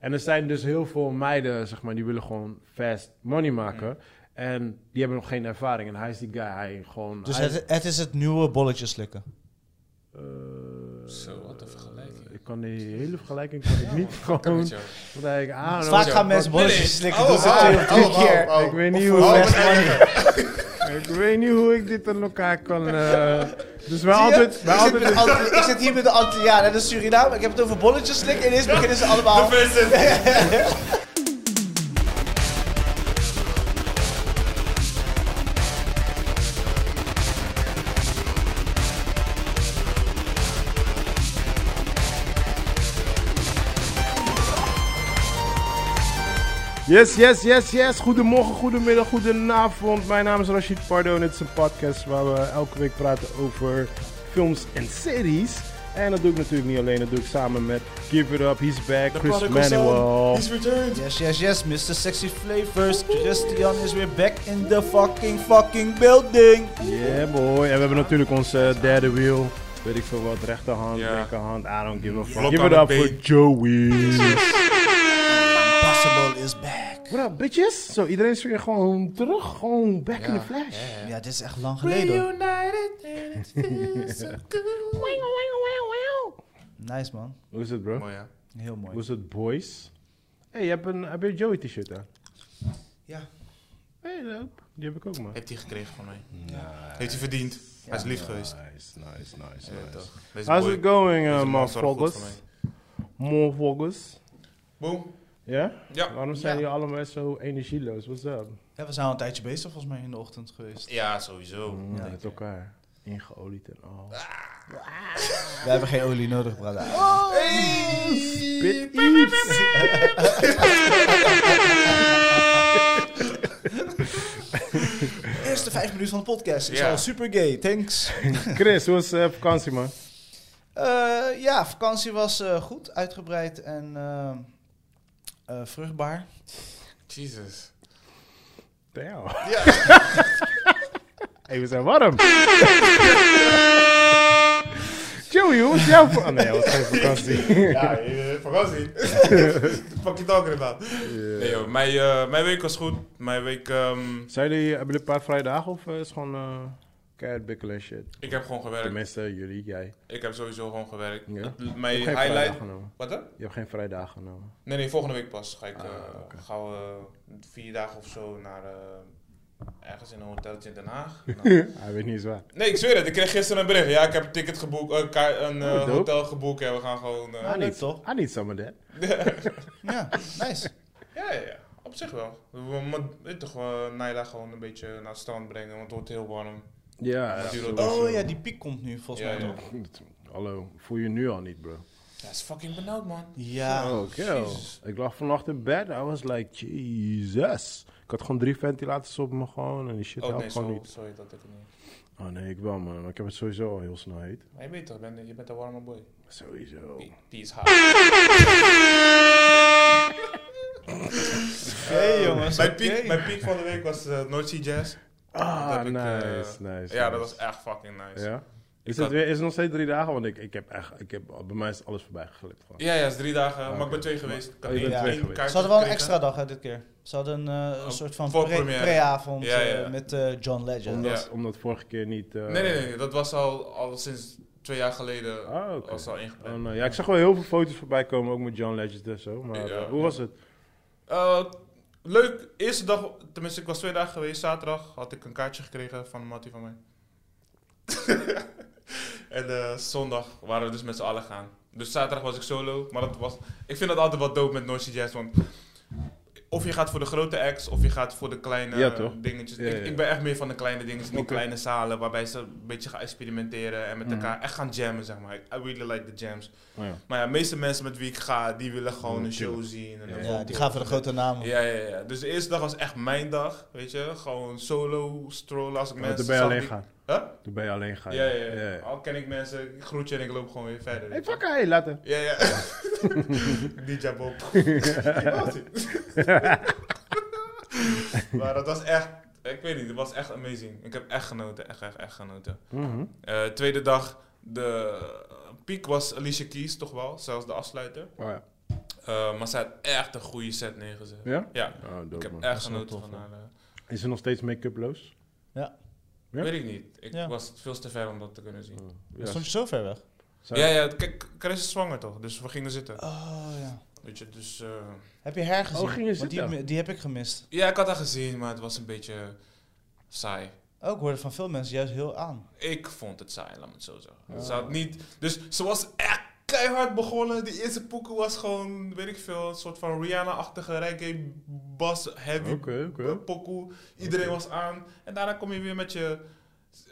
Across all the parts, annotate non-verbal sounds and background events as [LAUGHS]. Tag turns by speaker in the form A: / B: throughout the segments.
A: En er zijn dus heel veel meiden, zeg maar, die willen gewoon fast money maken. En die hebben nog geen ervaring. En hij is die guy, hij gewoon...
B: Dus
A: hij-
B: het, het is het nieuwe bolletjes slikken.
A: eh,
C: Zo, wat een vergelijking.
A: Ik kan die hele vergelijking kan ik niet
C: Kan
A: gewoon...
C: met jou.
A: omdat ik, ah,
B: Vaak
C: zo.
B: gaan mensen
C: Nee, nee.
B: bolletjes slikken.
C: Oh,
B: dus het
C: oh,
B: twee of drie keer.
A: Ik weet niet
B: Voor
A: hoe...
B: fast money.
A: [LAUGHS] Ik weet niet hoe ik dit aan elkaar
B: [LAUGHS]
A: kan. eh, dus wij
B: Zie je?
A: altijd. Wij
B: Ik zit
A: altijd
B: met Antilli- Ik zit hier met de Antilliaan en de Surinaam. Ik heb het over bolletjes slikken. En ineens beginnen ze allemaal.
A: Yes, yes, yes, yes. Goedemorgen, goedemiddag, goedenavond. Mijn naam is Rashid Pardo en dit is een podcast waar we elke week praten over films en series. En dat doe ik natuurlijk niet alleen, dat doe ik samen met Give It Up, He's Back, Chris Manuel.
C: He's returned.
B: Yes, yes, yes, Mr. Sexy Flavors. Christian is weer back in the fucking fucking building.
A: Yeah boy. En we hebben natuurlijk onze derde wheel. Weet ik veel wat, rechterhand,
C: Ja.
A: linkerhand, I don't give a fuck.
C: Blok
A: Give It
C: aan
A: Up
C: de
A: voor
C: been.
A: Joey.
B: Impossible is back.
A: What up, bitches? Zo, iedereen is weer gewoon terug. Gewoon back in the flash.
B: Ja, dit is echt lang geleden. hoor. Nice man.
A: Hoe is het, bro?
C: Mooi, ja.
B: Heel
A: Hoe
B: mooi.
A: is het, boys? hey, je hebt een, heb je een Joey t-shirt aan?
B: Ja.
A: hey, leuk. Die heb ik ook, man.
C: Heeft hij gekregen van mij. Heeft hij verdiend. hij is lief geweest.
A: Nice, nice, nice,
C: Ja,
A: nice.
C: toch. Deze
A: How's
C: boy-
A: it going, uh,
C: deze man zorgt goed
A: motherfuckers?
C: voor mij.
A: Motherfuckers.
C: Boom.
A: Ja?
C: Ja.
A: Waarom zijn
B: Ja.
A: jullie allemaal zo energieloos? What's up?
B: Ja, we zijn al een tijdje bezig volgens mij in de ochtend geweest.
C: Ja, sowieso.
A: Mm,
B: Ja,
A: met elkaar. Ingeolied en al.
B: We hebben geen olie nodig, brada.
A: Bit Eves.
B: Eerste vijf minuten van de podcast. Ik
C: Ja.
B: ben al super gay, thanks.
A: Chris, hoe was eh, vakantie, man?
B: Eh, ja, vakantie was eh, goed, uitgebreid en eh, eh, vruchtbaar.
C: Jesus.
A: Damn.
C: Ja.
A: [LAUGHS] Hey, we zijn warm. [LAUGHS] Joey, hoe is jouw... va- Oh nee, het was geen vakantie.
C: [LAUGHS] Ja, eh, vakantie. Fuck je talking about. Nee joh, mijn, eh, mijn week was goed. Mijn week, ehm,
A: Zijn jullie, hebben jullie een paar vrije dagen of eh, is gewoon eh keihard bikkelen en shit?
C: ik heb gewoon gewerkt.
A: Tenminste, jullie, jij.
C: Ik heb sowieso gewoon gewerkt.
A: Ja.
C: Het-
A: Je
C: Mijn
A: hebt geen vrije dagen
C: highlight...
A: genomen.
C: Wat dan?
A: Je hebt geen vrije dagen genomen.
C: Nee, nee, volgende week pas ga ik, eh,
A: Ah, oké.
C: gaan we vier dagen of zo naar eh, ergens in een hoteltje in Den Haag.
A: [LAUGHS]
C: Nou,
A: Hij weet niet eens waar.
C: nee, ik zweer het. Ik kreeg gisteren een bericht. Ja, ik heb een ticket geboekt, eh, ka- een eh,
A: Oh, dope.
C: hotel geboekt en we gaan gewoon... eh,
B: Ah,
A: I
B: leuk
A: need,
B: toch?
A: I need some of that.
B: Ja, [LAUGHS] nice.
C: ja, ja, ja. Op zich wel. We moeten weet toch wel Naila gewoon een beetje naar het strand brengen, want het wordt heel warm.
A: Ja.
C: dat
A: zo-
C: is
B: Oh ja, die piek komt nu volgens
C: Ja,
B: mij
C: ja.
B: nog.
A: Hallo, voel je nu al niet, bro?
C: Ja, is fucking benauwd, man.
B: Ja,
A: Oh, kill. Ik lag vannacht in bed. I was like, Jesus. Ik had gewoon drie ventilators op me gewoon en die shit
C: Oh
A: helpt
C: nee,
A: gewoon
C: zo,
A: niet.
C: sorry dat ik het niet...
A: Oh nee, ik wel man. Maar ik heb het sowieso al heel snel heet.
C: Maar je weet toch, ben, je bent een warme boy.
B: Oh.
A: Sowieso.
C: Die, die is hard.
B: Oké
C: Eh,
B: jongens.
C: Mijn piek,
B: oké.
C: mijn piek van de week was eh North Sea Jazz.
A: Ah,
C: Dat heb ik, eh,
A: nice, nice.
C: Ja,
A: nice.
C: dat was echt fucking nice.
A: Ja? Is
C: had-
A: het, weer, is het nog steeds drie dagen? Want ik, ik heb echt, ik heb, bij mij is alles voorbij geglipt. gewoon.
C: Ja, ja, is drie dagen.
A: Ah,
C: Maar ik ben
A: oké.
C: twee geweest. Ik
A: Oh,
C: had
A: je
C: één-
B: bent twee
C: één
A: geweest.
C: kaartje
B: Ze hadden wel een
C: gekregen.
B: extra dag hè, dit keer. Ze hadden eh,
C: Een
B: een soort van pre-
C: voorpremière.
B: pre-avond
C: Ja,
B: eh,
C: ja.
B: met eh, John Legend.
A: Omdat,
C: Ja.
A: omdat vorige keer niet... eh,
C: Nee, nee, nee. Dat was al, al sinds twee jaar geleden.
A: Ah, oké.
C: Was al ingepland.
A: oh, nee. ja, ik zag wel heel veel foto's voorbij komen, ook met John Legend en zo. Maar
C: Ja.
A: eh, hoe was het?
C: Eh, leuk. Eerste dag, tenminste, ik was twee dagen geweest. Zaterdag had ik een kaartje gekregen van een mattie van mij. [LAUGHS] en eh, zondag waren we dus met z'n allen gaan. Dus zaterdag was ik solo. Maar dat was, ik vind dat altijd wat dope met Noisy Jazz. Want of je gaat voor de grote acts, of je gaat voor de kleine
A: Ja, toch?
C: dingetjes.
A: Ja,
C: ik,
A: ja.
C: ik ben echt meer van de kleine dingetjes. Die
A: Oké. Mhm.
C: kleine zalen waarbij ze een beetje gaan experimenteren. En met elkaar echt gaan jammen, zeg maar. I really like the jams.
A: Nou ja.
C: Maar ja, de meeste mensen met wie ik ga, die willen gewoon
A: Mm,
C: een show
A: tuurlijk.
C: zien. En
A: Ja,
C: een
B: Ja,
C: voorbeeld.
B: die gaan voor de grote namen.
C: Ja, ja, ja. Dus de eerste dag was echt mijn dag, weet je. Gewoon solo, strollen als ik
A: Want
C: mensen
A: toen ben je
C: zag
A: alleen
C: die-
A: gaan.
C: Huh?
A: Toen ben je alleen gaan.
C: Ja, ja, Oh, ja. Al ken ik mensen, ik groet je en ik loop gewoon weer verder.
A: Hey, fuck, hey, later.
C: Ja,
A: [LAUGHS]
C: ja. DJ Bob. [LAUGHS] maar dat was echt, ik weet niet, dat was echt amazing. Ik heb echt genoten, echt, echt, echt genoten.
A: Mhm.
C: Eh, tweede dag, de piek was Alicia Keys toch wel, zelfs de afsluiter.
A: Oh, ja.
C: Eh, Eh, maar ze had echt een goede set neergezet.
A: Ja?
C: Ja,
A: Oh, dope,
C: ik heb
A: man.
C: echt
B: is wel
C: genoten
B: tof,
C: van haar. eh,
A: Is ze nog steeds make-uploos? Ja?
C: Weet ik niet. Ik
B: Ja.
C: was veel te ver om dat te kunnen zien.
A: Ja.
B: Stond je zo ver weg?
A: Zou-
C: Ja, ja, kijk, Chris is zwanger toch? Dus we gingen zitten.
B: Oh ja.
C: Weet je, dus... eh,
B: Heb je haar gezien?
A: Oh, ging je
B: Want die,
A: zitten?
B: heb- die heb ik gemist.
C: ja, ik had haar gezien, maar het was een beetje saai.
B: Ook Oh, hoorde van veel mensen juist heel aan.
C: Ik vond het saai, laat me het zo zeggen. Ze had niet... Dus ze was echt keihard begonnen. Die eerste poeken was gewoon, weet ik veel, een soort van Rihanna-achtige reggae bas heavy
A: Oké, oké.
C: pokoe. Iedereen was aan. En daarna kom je weer met je...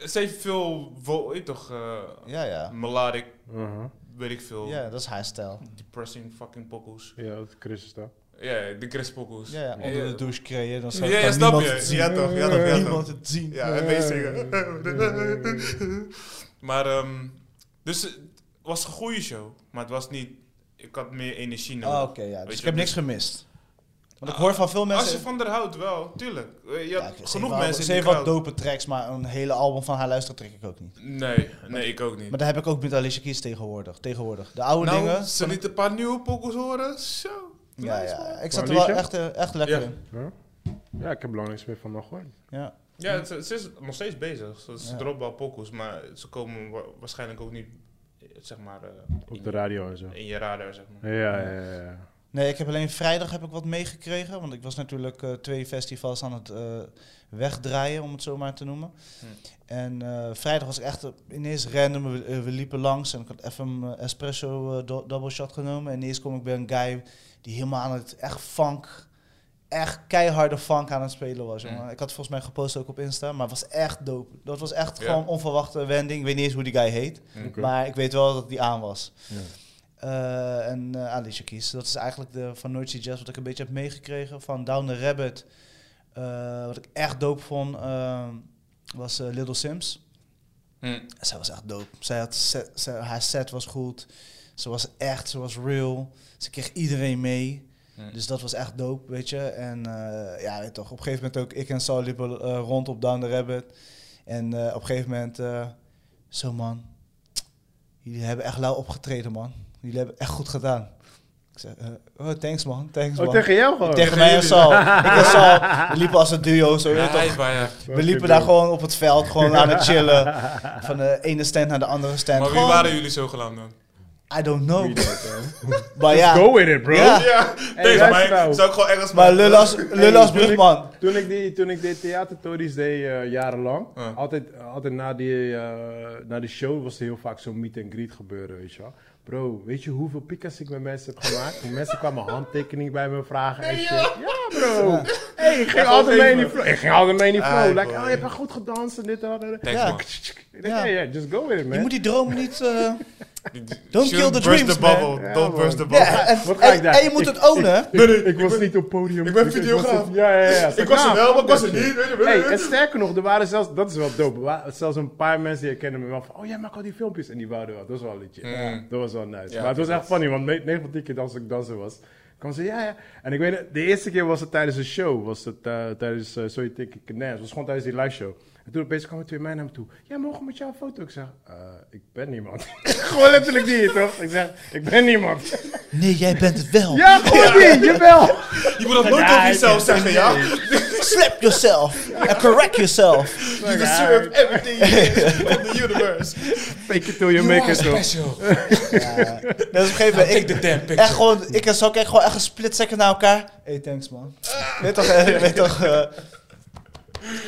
C: Ze heeft veel, vo- weet je toch, eh,
B: Ja, ja.
C: melodic,
A: Aha.
C: weet ik veel,
B: Ja, dat is haar stijl.
C: depressing fucking pokoes.
A: Ja, dat Chris is daar.
C: Ja, de Chris pokoes.
B: Ja, ja. Onder de douche creëren, dan
C: Ja,
B: zou
C: ja,
B: kan
C: snap
B: niemand
C: je.
B: het zien.
C: Ja toch, ja toch, ja
B: Kan
C: toch.
B: niemand het zien.
C: Ja, en meezingen. [LAUGHS] maar, ehm, dus het was een goede show. Maar het was niet, ik had meer energie
B: Oh,
C: nodig.
B: Oké, ja.
C: Weet
B: Dus
C: je,
B: ik heb
C: dus-
B: niks gemist. Want ik
C: Ah,
B: hoor van veel
C: Als je
B: mensen...
C: van haar houdt, wel, tuurlijk. Eh, Je
B: Ja,
C: had
B: ik- ze heeft
C: genoeg
B: wel-
C: mensen
B: Ze
C: in
B: heeft
C: de
B: wat
C: crowd.
B: dope tracks, maar een hele album van haar luisteren trek ik ook niet.
C: Nee, nee, ik ook niet.
B: Maar dat heb ik ook met Alicia Keys tegenwoordig. tegenwoordig. De oude
C: nou,
B: dingen...
C: ze liet een paar nieuwe pokoes horen, zo.
B: Ja,
C: Nice,
B: ja.
C: man.
B: Ik zat er wel
A: Alicia?
B: echt, eh, echt lekker
C: Ja.
B: in.
A: Huh? Ja, ik heb er lang niks meer van nog gehoord.
B: Ja.
C: Ja, ze, ze is nog steeds bezig. Ze, ze
B: Ja.
C: dropt wel pokoes, maar ze komen wa- waarschijnlijk ook niet, eh, zeg maar, eh, in,
A: Op de radio en zo.
C: in je radar, zeg maar.
A: Ja, ja, ja. ja.
B: Nee, ik heb alleen vrijdag heb ik wat meegekregen. Want ik was natuurlijk eh, twee festivals aan het eh, wegdraaien, om het zo maar te noemen.
C: Hm.
B: En eh, vrijdag was ik echt eh, ineens random. We, eh, we liepen langs en ik had even een eh, espresso eh, do- double shot genomen. En ineens kom ik bij een guy die helemaal aan het echt funk, echt keiharde funk aan het spelen was.
C: Hm.
B: Jongen. Ik had het volgens mij gepost ook op Insta, maar het was echt dope. Dat was echt
C: Ja.
B: gewoon onverwachte wending. Ik weet niet eens hoe die guy heet.
A: Oké.
B: Maar ik weet wel dat die aan was.
A: Ja.
B: Eh, en eh, Alicia Keys. Dat is eigenlijk de van Noisy Jazz wat ik een beetje heb meegekregen. Van Down the Rabbit. eh, wat ik echt dope vond, eh, was eh, Little Sims.
C: Hm.
B: Zij was echt dope. Zij had set- zij- haar set was goed. Ze was echt, ze was real. Ze kreeg iedereen mee.
C: Hm.
B: Dus dat was echt dope, weet je. En eh, ja, weet toch, op een gegeven moment ook ik en Saul liepen eh, rond op Down the Rabbit. En eh, op een gegeven moment, eh, zo man, jullie hebben echt lauw opgetreden, man. Jullie hebben echt goed gedaan. Ik zeg, eh, oh, thanks man, thanks
A: Oh,
B: man.
A: tegen jou gewoon?
B: Tegen mij en Saul.
A: [LAUGHS]
B: ik en Saal, we liepen als een duo, zo weet je
C: Ja,
B: toch.
C: hij is bij haar.
B: We liepen daar gewoon op het veld, gewoon aan het
A: [LAUGHS]
B: chillen. Van de ene stand naar de andere stand.
C: Maar wie
B: Gewoon,
C: waren jullie zo geland dan?
B: I don't know.
A: Let's
B: [LAUGHS] Maar ja,
A: go with it, bro.
B: Ja.
C: Ja, deze
A: luister
C: mij
A: nou.
C: zou ik gewoon Engels
B: maar
C: maken.
B: Lullas, Lullas
A: Hey,
B: Brugman.
A: Toen ik die, toen ik die theatertories deed eh, jarenlang,
C: Ah.
A: altijd, altijd na, die, eh, na die show was er heel vaak zo'n meet and greet gebeuren, weet je wel. Bro, weet je hoeveel pika's ik met mensen heb gemaakt? Die mensen kwamen handtekening bij me vragen en shit. Ja, bro. Hey, ik ging
C: gewoon
A: altijd mee in die
C: geven.
A: flow. Ik ging altijd mee in die
C: Ah,
A: flow. Like,
C: boy.
A: oh, je hebt wel goed gedanst en dit en dat.
C: Thanks,
B: Ja.
C: man.
A: Ik dacht,
B: Ja.
A: Ja, ja, just go with it,
B: Je
A: man.
B: moet die droom niet...
C: [LAUGHS]
B: eh,
C: Shouldn't
B: kill the
C: burst
B: dreams,
C: the bubble.
A: man.
C: Don't
A: Ja,
C: burst the
A: man.
C: bubble.
B: ja, en,
A: Wat ga ik
B: en,
A: daar?
B: en je moet het ownen.
A: Ik, ik
C: ik
A: was
C: ben-
A: niet op podium.
C: ik ben
A: was
C: videograaf.
A: niet- Ja, ja, ja.
C: Ik was er wel, maar ik was er
A: Nou,
C: niet. Weet je,
A: Hey,
C: weet
A: en
C: je.
A: sterker nog, er waren zelfs, dat is wel dope, er waren zelfs een paar mensen die herkenden me wel van, oh jij maakt al die filmpjes. En die wouden wel, dat was wel legit.
C: Mm.
A: Dat was wel nice.
C: Ja,
A: maar het was
C: dat
A: echt funny, want 9 van 10 keer als ik danser was, kwam ze, ja, ja. En ik weet het, de eerste keer was het tijdens een show, was het eh, tijdens eh So You Think You Can Dance, was gewoon tijdens die live show. En toen opeens kwamen twee mij naar me toe. Ja, mogen we met jou een foto? Ik zeg, eh, ik ben niemand. [LAUGHS] gewoon letterlijk die, toch? Ik zeg, ik ben niemand.
B: Nee, jij bent het wel.
A: ja, gewoon die, jawel.
C: Je moet dat nooit over jezelf zeggen,
A: [LAUGHS]
C: ja?
B: Slap yourself. En correct
A: [LAUGHS]
B: yourself.
C: You deserve everything you get from the universe.
A: Fake it till you make it, toch?
B: Ja. Dat is op een gegeven moment... Ik,
C: the damn picture.
B: echt gewoon, ik en zo kijk gewoon echt een split second naar elkaar. Hey, thanks man. Weet toch... eh, [LAUGHS] Weet toch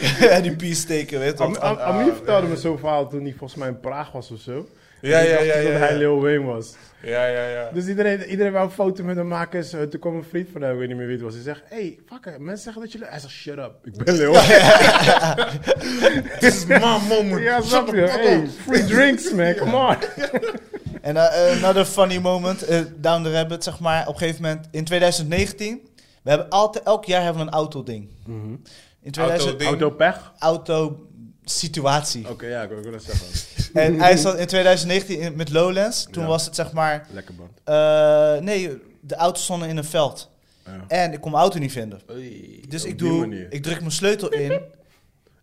B: eh, en die peace steken, weet
A: Am-
B: toch.
A: Am- Amir vertelde me zo'n verhaal toen hij volgens mij in Praag was of zo.
C: Ja,
A: Die
C: ja,
A: dacht
C: ja, ja,
A: Dat hij
C: ja.
A: Lil Wayne was.
C: Ja, ja, ja.
A: Dus iedereen, iedereen wou een foto met hem maken. Dus, eh, toen kwam een vriend van hem, ik weet niet meer wie het was. Hij zegt, hey, fucker, mensen zeggen dat jullie... Hij zegt, shut up, ik ben Lil Wayne.
C: This is my moment.
A: ja, snap je? Hey, free drinks, man, come on.
B: [LAUGHS] En eh, another funny moment, eh, Down the Rabbit, zeg maar. Op een gegeven moment, in 2019, we hebben altijd, elk jaar hebben we een autoding. In 2000,
C: Autoding.
A: Autopech?
B: auto-situatie.
A: Oké, ja, ik wil ik wil dat zeggen.
B: En hij zat in 2019 in- met Lowlands, toen
A: Ja.
B: was het zeg maar,
A: Lekker band.
B: eh, nee, de auto's stonden in een veld.
A: Ja.
B: En ik kon mijn auto niet vinden.
A: Oei,
B: Dus
A: op
B: ik,
A: die
B: doe,
A: manier.
B: ik druk mijn sleutel in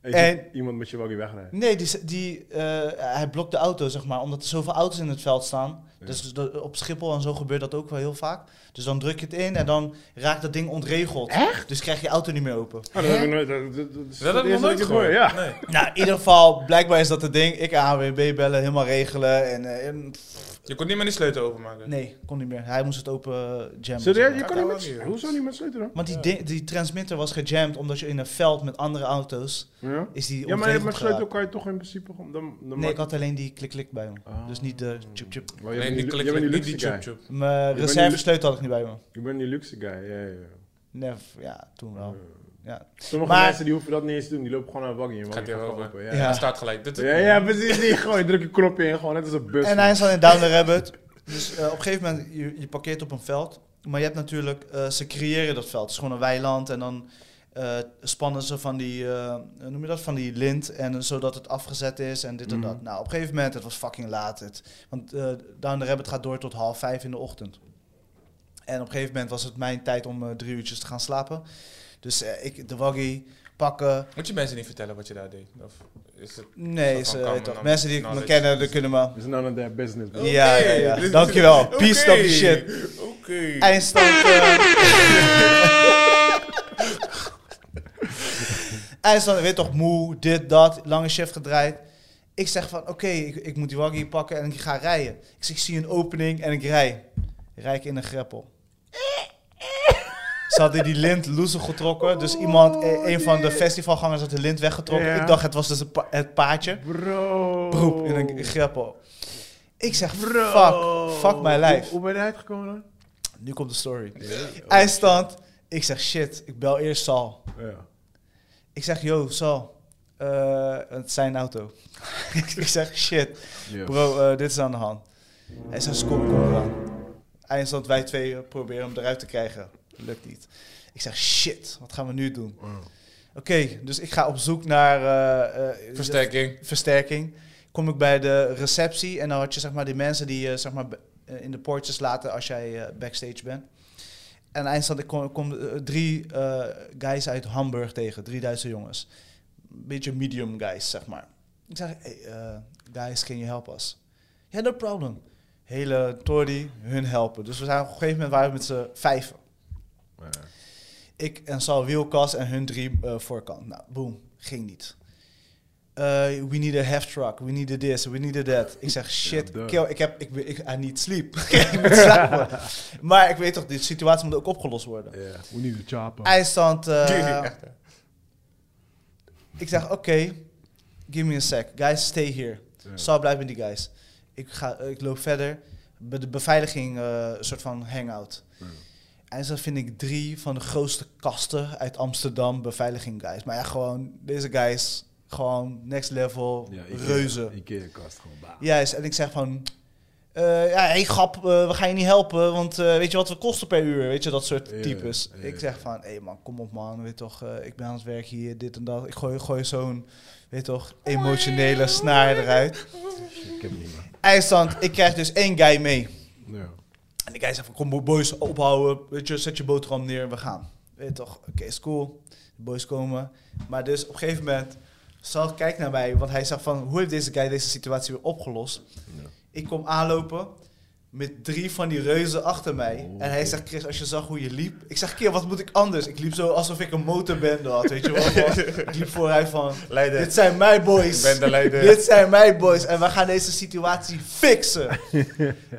A: En,
B: En-
A: iemand moet je wel weer wegrijden.
B: Nee, die, die, eh, hij blokt de auto, zeg maar, omdat er zoveel auto's in het veld staan.
A: Ja.
B: Dus de- op Schiphol en zo gebeurt dat ook wel heel vaak. Dus dan druk je het in en dan raakt dat ding ontregeld. Dus krijg je auto niet meer open.
A: Oh, dat heb ik nooit. Dat, dat, dat is
C: Dat
A: het
C: heb ik nog
A: eerste dat
C: nooit
A: ik
C: gehoord.
A: hoor, Ja.
C: Nee.
B: Nou, in ieder geval, blijkbaar is dat het ding. Ik AWB bellen, helemaal regelen. En, eh, en-
C: Je kon niet meer die sleutel openmaken.
B: nee, kon niet meer. Hij moest het open
A: Serieus?
B: jammen. zeg
A: Je
B: maar.
A: kan niet met, hoezo niet met sleutel dan?
B: Want die, ding- die transmitter was gejamd omdat je in een veld met andere auto's
A: Ja,
B: is die
A: ja maar
B: ontregeld
A: met sleutel
B: geraakt.
A: kan je toch in principe gewoon... Dan, dan
B: Nee,
A: maak-
B: ik had alleen die klik-klik bij me.
A: Ah.
B: Dus niet de chup-chup.
A: Maar je
C: Nee,
A: bent
C: die
A: niet-
C: klik
A: je bent
C: klik,
A: die
C: Oh, niet
A: luxe
C: die
A: guy.
C: chup chup.
B: Mijn
A: Je bent
B: reserve
A: niet-
B: sleutel had ik niet bij me.
A: Je bent die luxe guy, ja, ja, ja.
B: Nee, f- ja, toen wel. Ja.
A: Sommige
B: Maar-
A: mensen die hoeven dat niet eens te doen. Die lopen gewoon naar waggie.
C: Gaat die
A: gewoon
C: wel
A: open, ja.
B: Ja.
C: Hij staat gelijk. Dit is-
A: Ja, ja, precies. Die gewoon, je drukt een knopje in, gewoon net als een bus.
B: En hij is al in Down the Rabbit. Dus eh, op een gegeven moment, je, je parkeert op een veld. Maar je hebt natuurlijk, eh, ze creëren dat veld. Het is gewoon een weiland en dan eh, spannen ze van die, eh, hoe noem je dat, van die lint. En eh, zodat het afgezet is en dit en
A: Mhm.
B: dat. Nou, op een gegeven moment, het was fucking laat. Het, want eh, Down the Rabbit gaat door tot half vijf in de ochtend. En op een gegeven moment was het mijn tijd om eh, drie uurtjes te gaan slapen. Dus eh, ik de waggie pakken.
C: Moet je mensen niet vertellen wat je daar deed? Of is het...
B: Nee,
C: Dat
B: ze,
C: kan, kan,
B: weet toch,
C: dan-
B: mensen die
C: nou,
B: me
C: dat-
B: kennen, die kunnen me...
A: It's none of their business, bro.
B: Ja, ja, ja.
C: Oké.
B: Dankjewel.
C: Oké.
B: Peace, love the shit.
C: Oké.
B: Eindstand. eh. Eindstand, weet toch, moe, dit, dat, lange shift gedraaid. Ik zeg van, oké, ik, ik moet die waggie pakken en ik ga rijden. Ik zeg, ik zie een opening en ik rij. Rij ik in een greppel. Ze hadden die lint loesel getrokken. Dus iemand, eh, een van de festivalgangers had de lint weggetrokken.
A: Oh, Ja.
B: Ik dacht, het was dus het, pa- het paardje.
A: Bro.
B: Broep, in een greppel. Ik zeg,
A: Bro.
B: fuck, fuck mijn lijf.
A: Hoe, hoe ben je eruit gekomen dan?
B: Nu komt de story. Oh. Eindstand. Ik zeg shit, ik bel eerst Sal.
A: Ja.
B: Ik zeg yo, Sal. eh, het is zijn auto. [LAUGHS] ik zeg shit,
A: Ja.
B: bro, eh, dit is aan de hand. Hij zegt kom, kom eraan. Eindstand, wij twee eh, proberen hem eruit te krijgen. Lukt niet. Ik zeg shit, wat gaan we nu doen?
A: Wow.
B: Oké, dus ik ga op zoek naar eh, eh,
C: Versterking.
B: versterking. Kom ik bij de receptie en dan had je zeg maar die mensen die je zeg maar b- eh, in de poortjes laten als jij eh, backstage bent. En eindstand, ik kom, kom eh, drie eh, guys uit Hamburg tegen, drie Duitse jongens. Beetje medium guys, zeg maar. Ik zeg, hey, eh, guys, can you help us? Ja, no problem. Hele Tori, hun helpen. Dus we zijn op een gegeven moment waren we met z'n vijven.
A: Ja.
B: Ik en Sal wielkas en hun drie eh, voorkant. Nou, boom. Ging niet. Eh, we need a half truck. We need a this. We need a that. Ik zeg, shit,
A: duh.
B: kill. Ik heb... Ik, ben- ik, I need sleep. [LAUGHS] ik moet slapen. Maar ik weet toch, die situatie moet ook opgelost worden.
A: We need a chopper.
B: IJsland...
C: [LAUGHS]
B: eh,
C: Echt, hè?
B: ik zeg, oké. give me a sec. Guys, stay here.
A: Ja.
B: Sal blijft met die guys. Ik, ga, ik loop verder. Bij de beveiliging, eh, een soort van hangout.
A: Ja.
B: En zo vind ik drie van de grootste kasten uit Amsterdam beveiliging guys. Maar ja, gewoon deze guys, gewoon next level,
A: Ja, Ikea-
B: reuzen.
A: Ikea-kast gewoon. Bah.
B: Juist, en ik zeg van... eh, ja, hey, grap, eh, we gaan je niet helpen, want eh, weet je wat we kosten per uur? Weet je, dat soort
A: Ja,
B: types.
A: ja,
B: Ik zeg van, hé man, kom op man, weet toch, eh, ik ben aan het werk hier, dit en dat. Ik gooi, gooi zo'n, weet toch, emotionele snaar eruit.
A: Ik heb het niet meer.
B: IJsland, ik krijg dus één guy mee.
A: Ja.
B: En die guy zegt van, kom boys, ophouden, weet je, zet je boterham neer, we gaan. Weet je toch, oké, is cool. De boys komen. Maar dus op een gegeven moment, Sal kijkt naar mij, want hij zegt van, hoe heeft deze guy deze situatie weer opgelost?
A: Ja.
B: Ik kom aanlopen met drie van die reuzen achter mij.
A: Oh.
B: En hij zegt, Chris, als je zag hoe je liep. Ik zeg, keer, wat moet ik anders? Ik liep zo alsof ik een motorbende had, weet je
C: [LAUGHS]
B: wel. man. ik liep vooruit van,
C: Leider.
B: dit zijn mijn boys.
C: Ik ben de leider.
B: Dit zijn mijn boys. En we gaan deze situatie
A: [LAUGHS]
B: fixen.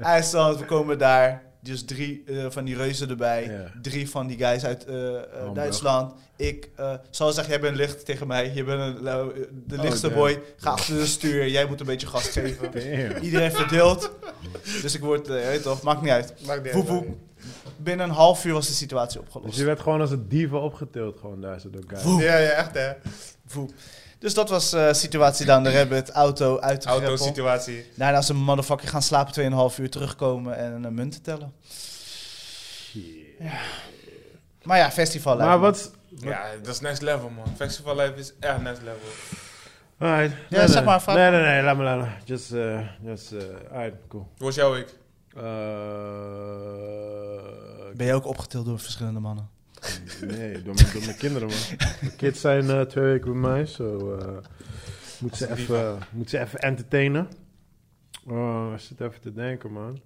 B: IJsland, we komen daar. Dus drie eh, van die reuzen erbij.
A: Ja.
B: Drie van die guys uit eh, eh,
A: Hamburg.
B: Duitsland. Ik eh, zal zeggen, jij bent licht tegen mij. Je bent een, lui- eh, de
A: Oh,
B: lichtste
A: damn.
B: boy. Ga achter de stuur. Jij moet een beetje gas
A: [LAUGHS]
B: geven.
A: Damn.
B: Iedereen verdeeld. Dus ik word, eh, weet toch, maakt niet uit.
C: Maakt niet
B: Woep,
C: uit.
B: woep. Binnen een half uur was de situatie
A: Dus
B: opgelost.
A: je werd gewoon als een diva opgetild gewoon daar zo door guys.
B: Woe.
C: Ja, ja, echt hè.
B: Woep. Dus dat was de situatie down the rabbit. Auto uit de greppel.
C: Autosituatie.
B: Daarna ze een motherfucker gaan slapen, 2,5 uur terugkomen en een munten tellen.
A: Shit.
B: Maar ja, festival. lijkt
A: Maar
B: me.
A: wat...
C: Ja, dat is next level man. Festival life is echt next level.
A: Alright.
B: Ja, zeg maar, vraag
A: Nee,
B: maar.
A: nee, nee. Laat me, laat me. Just, eh, just, eh, alright, cool.
C: Hoe was jouw week?
A: Eh,
B: Ben je ook opgetild door verschillende mannen?
A: Nee, door mijn, door mijn kinderen, man. De kids zijn eh, twee weken bij mij, zo eh moet, ze even, moet ze even entertainen. Oh, ik zit even te denken, man.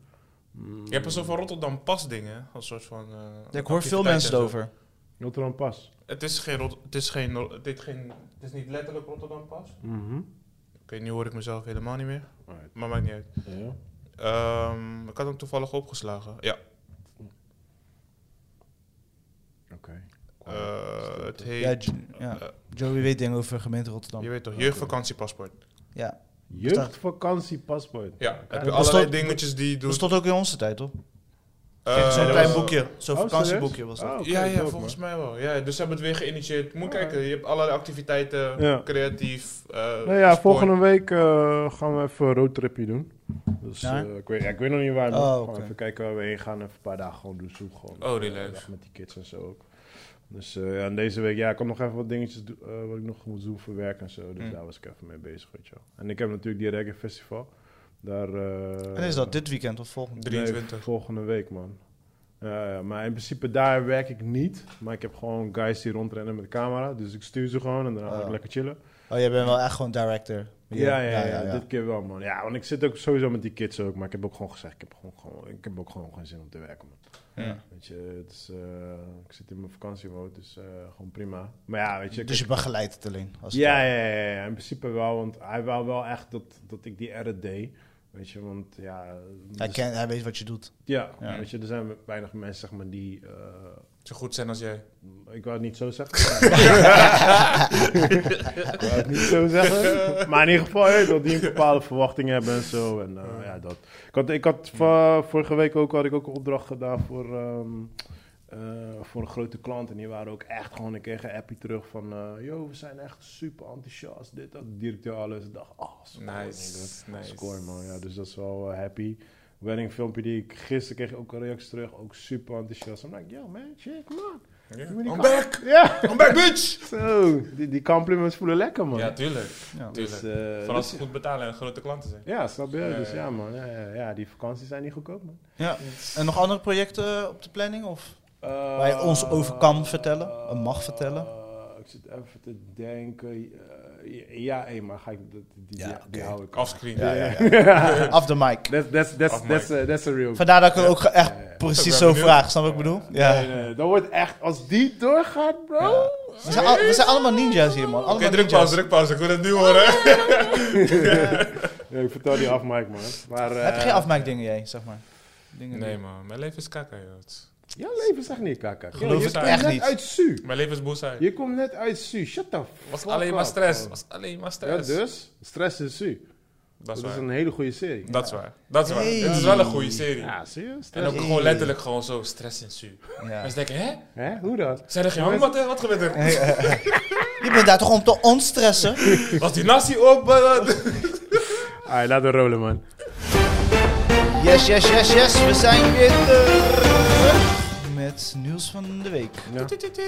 A: Mm.
C: Je hebt er zo van Rotterdam pasdingen. Als soort van. eh,
B: Ja, ik hoor veel
C: activiteit
B: mensen
C: en zo.
B: erover.
A: Rotterdam Pas.
C: Het is geen. Rot- Het is geen. Ro- Het is geen. Het is niet letterlijk Rotterdam pas. Oké,
A: Mhm.
C: nu hoor ik mezelf helemaal niet meer.
A: Alright.
C: Maar maakt niet uit.
A: Ja.
C: Ehm, ik had hem toevallig opgeslagen. Ja.
A: Oké.
C: eh, het heet.
B: Ja, J- ja.
C: eh,
B: Joey weet dingen over gemeente
C: je
B: Rotterdam.
C: weet toch, jeugdvakantiepaspoort.
B: Ja.
A: Jeugdvakantiepaspoort.
C: Ja, heb je
A: Dat
C: allerlei
B: bestond-
C: dingetjes die je
B: Dat
C: doet.
B: stond ook in onze tijd, toch?
C: Eh,
B: zo'n
A: dat
B: klein
A: was-
B: boekje. Zo'n
A: Oh,
B: vakantieboekje
A: serieus?
B: was dat.
A: Oh, oké,
C: ja, ja,
A: dope,
C: volgens
A: man.
C: mij wel. Ja, dus ze hebben het weer geïnitieerd. Moet
A: Alright.
C: kijken, je hebt allerlei activiteiten,
A: Ja.
C: creatief. eh,
A: Nou ja,
C: sport.
A: volgende week eh, gaan we even een roadtripje doen. Dus
B: Ja?
A: eh, ik, weet, ja, ik weet nog niet waar, maar
B: Oh,
A: gewoon
B: oké.
A: even kijken waar we heen gaan. Even een paar dagen gewoon doen zoek. Gewoon,
C: Oh,
A: die
C: relax.
A: met die kids en zo ook. Dus eh, ja, en deze week, ja, ik heb nog even wat dingetjes doen, eh, wat ik nog moet doen voor werk en zo. Dus
C: Mm.
A: daar was ik even mee bezig, weet je wel. En ik heb natuurlijk die reggae festival. Daar, eh,
B: En is dat dit weekend of volgend?
C: 23.
A: Nee, volgende week, man. Ja, ja, maar in principe daar werk ik niet. Maar ik heb gewoon guys die rondrennen met de camera. Dus ik stuur ze gewoon en daarna ga ik
B: Oh.
A: lekker chillen.
B: Oh, jij bent wel echt gewoon director.
A: Ah. Ja, ja, ja, dit keer wel, man. Ja, want ik zit ook sowieso met die kids ook. Maar ik heb ook gewoon gezegd, ik heb, gewoon, gewoon, ik heb ook gewoon geen zin om te werken, man.
C: Ja.
A: Weet je, het is, eh, ik zit in mijn vakantiewoord, dus eh, gewoon prima. Maar ja, weet je...
B: Dus je
A: kijk-
B: begeleidt het alleen. Als het
A: ja,
B: ware.
A: ja, ja, ja, in principe wel. Want hij wou wel echt dat, dat ik die edit deed. Weet je, want ja...
B: Hij,
A: dus-
B: kent, hij weet wat je doet.
A: ja,
B: Ja.
A: weet je, er zijn weinig mensen, zeg maar, die... eh,
C: Zo goed zijn als jij.
A: ik wou het niet zo zeggen. [LAUGHS] ik wou het niet zo zeggen. Maar in ieder geval, je weet wel, die een bepaalde verwachting hebben en zo. En eh, ja, dat. Ik had, ik had va- vorige week ook, had ik ook een opdracht gedaan voor, ehm, eh, voor een grote klant. En die waren ook echt gewoon, ik kreeg een appje terug van... eh yo, we zijn echt super enthousiast, dit, dat. De directeur alles. Ik dacht, ah, score,
C: Nice,
A: nigga.
C: nice.
A: Score, man. Ja, dus dat is wel eh, happy. Wedding filmpje die ik gisteren kreeg ook een reactie terug. Ook super enthousiast. I'm like, yo man, shit, come on.
C: Ja.
A: Doe me die
C: I'm
A: ka-
C: back!
A: Ja,
C: I'm back,
A: [LAUGHS]
C: bitch!
A: zo. Die, die compliments voelen lekker, man.
C: Ja, tuurlijk.
B: Ja.
C: tuurlijk.
A: eh,
C: Vooral als
A: dus-
C: ze goed betalen en grote klanten zijn.
A: Ja, snap je?
C: Ja,
A: dus
C: ja,
A: ja,
C: ja.
A: man. Ja, ja, ja, die vakanties zijn niet goedkoop, man.
B: Ja. En nog andere projecten op de planning? Of?
A: Eh,
B: Waar je ons over kan vertellen, en mag vertellen.
A: eh, ik zit even te denken. eh, ja, hé, maar ga ik, die, die,
B: Ja,
A: die, die
B: oké.
A: hou ik.
C: Offscreen.
B: Ja, ja,
A: [LAUGHS] Ja.
B: Af de mic.
A: That's, that's, that's,
C: Af mic.
A: that's, a, that's a real...
B: Vandaar dat ik het ook ge- echt
A: Ja, ja.
C: Ik
B: precies
C: ben
B: zo
C: benieuwd.
B: vraag. Snap wat ik bedoel? Ja.
A: Nee, nee, dat wordt echt... Als die doorgaat, bro...
B: Ja. We, zijn al- we zijn allemaal ninja's hier, man. Allemaal
C: Oké, druk
B: ninja's.
C: pauze, druk pauze. Ik wil het nu [LAUGHS] horen.
A: Ja, ik vertel die af, Mike, man. Maar, eh,
B: Heb je geen afmaakdingen jij, zeg maar? Dingen
C: Nee
B: die-
C: man, mijn leven is kaka, joh.
A: Jouw leven is echt niet kaka.
B: Geloof
A: je
B: het
A: komt
B: echt
A: net
B: niet.
A: uit Su.
C: Mijn leven is boosheid.
A: Je komt net uit Su. Shut the fuck
C: Was alleen maar
A: up,
C: stress.
A: man.
C: Was alleen maar
A: Ja,
C: stress.
A: dus? Stress in Su.
C: Dat is
A: Dat is
C: waar.
A: een hele goede serie.
C: Dat is waar. Dat is waar.
B: Hey.
C: Dit is wel een goede serie.
A: Ja, zie je?
C: En ook
A: Stress.
C: gewoon letterlijk gewoon zo stress en su.
B: Ja.
C: Mensen denken, hè?
A: Hè? Hoe dan?
C: Zijn er geen hangmatten? Wat gebeurt er?
B: Je bent daar toch om te ontstressen?
C: Was die nasi op? eh,
A: Allee, laten we rollen, man.
B: Yes, yes, yes, yes. We zijn weer terug met nieuws van de week.
A: Ja.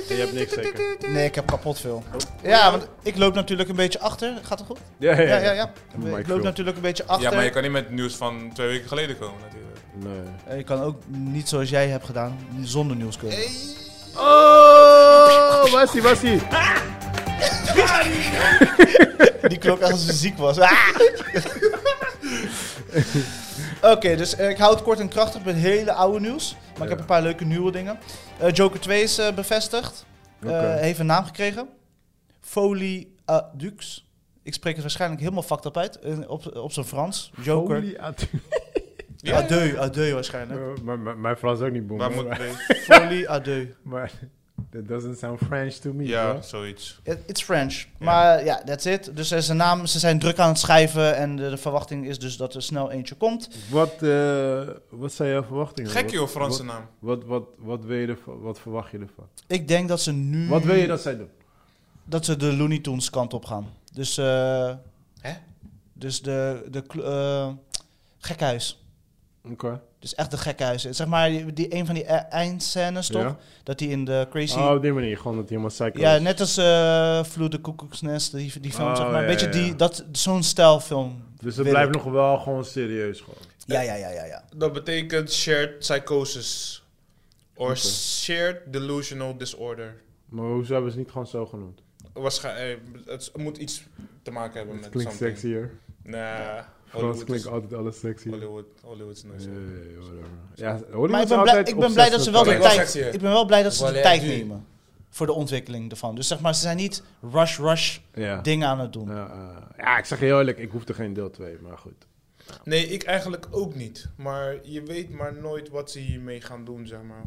A: Je hebt niks zeker.
B: Nee, ik heb kapot veel. Ja, want ik loop natuurlijk een beetje achter. Gaat het goed?
A: Ja,
B: Ja, ja, ja.
A: Maar
B: Ik
A: ik
B: loop
A: veel.
B: natuurlijk een beetje achter.
C: Ja, maar je kan niet met het nieuws van twee weken geleden komen natuurlijk.
A: Nee.
B: En je kan ook niet zoals jij hebt gedaan, zonder nieuws kunnen.
A: Oh, was ie, was ie.
B: Die klonk echt als ze ziek was. Ah! Oké, dus eh, ik hou het kort en krachtig met hele oude nieuws. Maar ik heb
A: Ja.
B: een paar leuke nieuwe dingen. Eh, Joker 2 is eh, bevestigd. Eh,
A: Oké.
B: heeft een naam gekregen. Folie Adux. Ik spreek het waarschijnlijk helemaal fucked up uit. eh, op, op zijn Frans. Joker.
A: Holy atu-
C: Ja.
B: Adeu, adeu waarschijnlijk.
A: Eh, maar- maar- Mijn Frans is ook niet boem.
C: Waar
A: Maar,
C: moet nee.
B: Folie adeu.
A: [LAUGHS] maar that doesn't sound French to me.
C: Ja,
A: bro.
C: zoiets.
B: It- It's French. Maar ja, that's it. Dus eh, zijn naam, ze zijn druk aan het schrijven. En de, de verwachting is dus dat er snel eentje komt.
A: Wat, eh, wat zijn jouw verwachtingen?
C: Gek
A: Wat-
C: joh, Franse naam.
A: Wat, wat, wat, wat, wil je ervan- wat verwacht je ervan?
B: Ik denk dat ze nu...
A: Wat wil je dat zij doen?
B: dat ze de Looney Tunes kant op gaan. Dus, eh
C: Hè?
B: dus de, de kl- eh, gekhuis.
A: Oké.
B: Dus echt de gekhuis. Zeg maar, die, die- een van die e- eindscènes toch?
A: Ja.
B: Dat die in de Crazy...
A: Oh, op die manier. Gewoon dat iemand psycho
B: ja,
A: is.
B: net als eh Vloed de Koekoeksnest, die, die film
A: Oh,
B: zeg maar. Een
A: ja,
B: beetje
A: ja, ja.
B: die, dat, zo'n stijlfilm.
A: Dus het
B: wil
A: blijft
B: ik.
A: nog wel gewoon serieus gewoon.
B: Ja, ja, ja, ja, ja.
C: Dat betekent shared psychosis. Or
A: Oké.
C: shared delusional disorder.
A: Maar hoezo hebben ze het niet gewoon zo genoemd?
C: Waarschijnlijk, het moet iets te maken hebben
A: Het
C: met
A: klinkt
C: something.
A: sexier.
C: Nah,
A: Frans
C: Hollywood
A: klinkt
C: is,
A: altijd alles sexier.
C: Hollywood, Hollywood is nooit
A: Ja,
C: zo.
A: whatever. Ja, Hollywood
B: Maar
A: is
B: ik ben, blij,
A: nou altijd
B: ik ben blij dat ze wel de
C: Klinkt wel
B: tijd,
C: sexy, hè?
B: ik ben wel blij dat ze de
D: Voilà,
B: tijd
D: nu.
B: nemen voor de ontwikkeling ervan. Dus zeg maar, ze zijn niet rush, rush
A: Ja.
B: dingen aan het doen.
A: Ja, eh, ja, ik zeg je heel eerlijk, ik hoefde geen deel 2, maar goed.
C: Nee, ik eigenlijk ook niet. Maar je weet maar nooit wat ze hiermee gaan doen, zeg maar.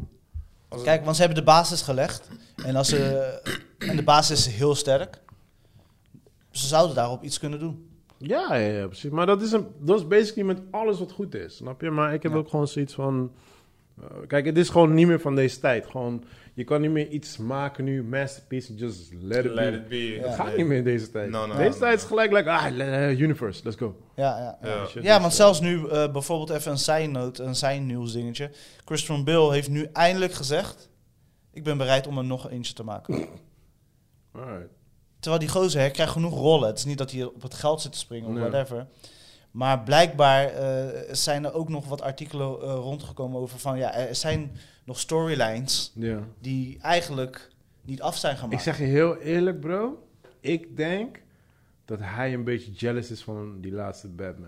C: Als het-
B: Kijk, want ze hebben de basis gelegd. En, als ze,
A: [CLEARS THROAT]
B: en de basis is heel sterk. Ze zouden daarop iets kunnen doen.
A: Ja, ja, ja, precies. Maar dat is, een, dat is basically met alles wat goed is, snap je? Maar ik heb
B: Ja.
A: ook gewoon zoiets van... eh, kijk, het is gewoon niet meer van deze tijd. Gewoon, je kan niet meer iets maken nu, masterpiece, just let it be.
C: let it be.
A: Dat
B: Ja.
A: gaat niet meer in deze tijd.
C: No, no,
A: deze
C: no,
A: tijd
C: no.
A: is gelijk, like, ah, le- eh, universe, let's go.
B: Ja, ja. ja.
C: Ja.
A: Shit,
B: Ja,
A: dus,
B: want
A: eh,
B: zelfs nu eh, bijvoorbeeld even een zijnoot, een zijnieuws dingetje. Christian Bill heeft nu eindelijk gezegd: ik ben bereid om er nog eentje te maken.
A: alright.
B: Terwijl die gozer hè, krijgt genoeg rollen. Het is niet dat hij op het geld zit te springen of
A: Nee.
B: whatever. Maar blijkbaar eh, zijn er ook nog wat artikelen eh, rondgekomen over van ja, er zijn nog storylines
A: Ja.
B: die eigenlijk niet af zijn gemaakt.
A: Ik zeg je heel eerlijk, bro. Ik denk dat hij een beetje jealous is van die laatste Batman.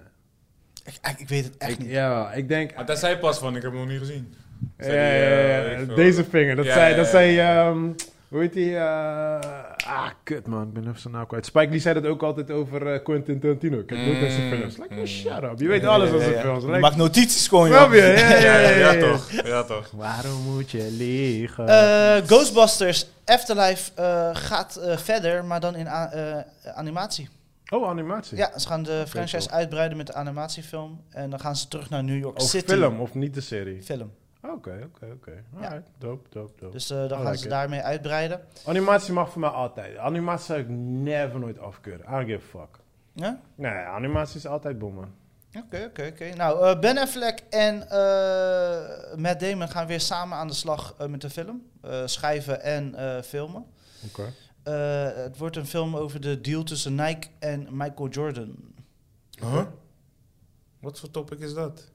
B: ik, ik- ik weet het echt
A: ik,
B: niet.
A: Ja, ik denk...
C: Maar dat zei pas van, ik heb hem nog niet gezien.
A: Ja,
C: Zei die, eh,
A: ja,
C: weet
A: ja,
C: ik veel.
A: deze vinger. Dat
C: Ja,
A: zei,
C: ja,
A: dat
C: ja,
A: zei ehm, hoe heet die? eh, ah, kut man, ik ben even zijn naam kwijt. Spike Lee zei dat ook altijd over eh, Quentin Tarantino. Ik Kijk nooit naar zijn
C: Mm,
A: films. Like, oh,
C: mm.
A: shut up. Je weet alles van
B: Ja, ja,
A: zijn
B: ja.
A: films.
B: Je
A: Like,
B: maakt notities gewoon.
A: snap je?
B: joh.
A: Ja, ja, ja, ja, ja.
C: toch. Ja, toch.
A: Waarom moet je liegen?
B: Eh, Ghostbusters Afterlife eh, gaat eh, verder, maar dan in a- eh, animatie.
A: oh, animatie.
B: Ja, ze gaan de franchise
A: cool.
B: uitbreiden met de animatiefilm. En dan gaan ze terug naar New York
A: Of
B: City.
A: film, of niet de serie.
B: Film.
A: Oké, oké, oké.
B: Ja.
A: Alright, dope, dope, dope.
B: Dus eh, dan
A: I
B: gaan
A: like
B: ze
A: it.
B: daarmee uitbreiden.
A: Animatie mag voor mij altijd. Animatie zou ik never nooit afkeuren. I don't give a fuck.
B: Ja?
A: Nee, animatie is altijd bommen.
B: Oké, oké, oké. Nou, eh, Ben Affleck en eh Matt Damon gaan weer samen aan de slag eh, met de film. Eh, schrijven en eh, filmen.
A: Oké.
B: Eh, het wordt een film over de deal tussen Nike en Michael Jordan.
C: Huh? Wat voor topic is dat?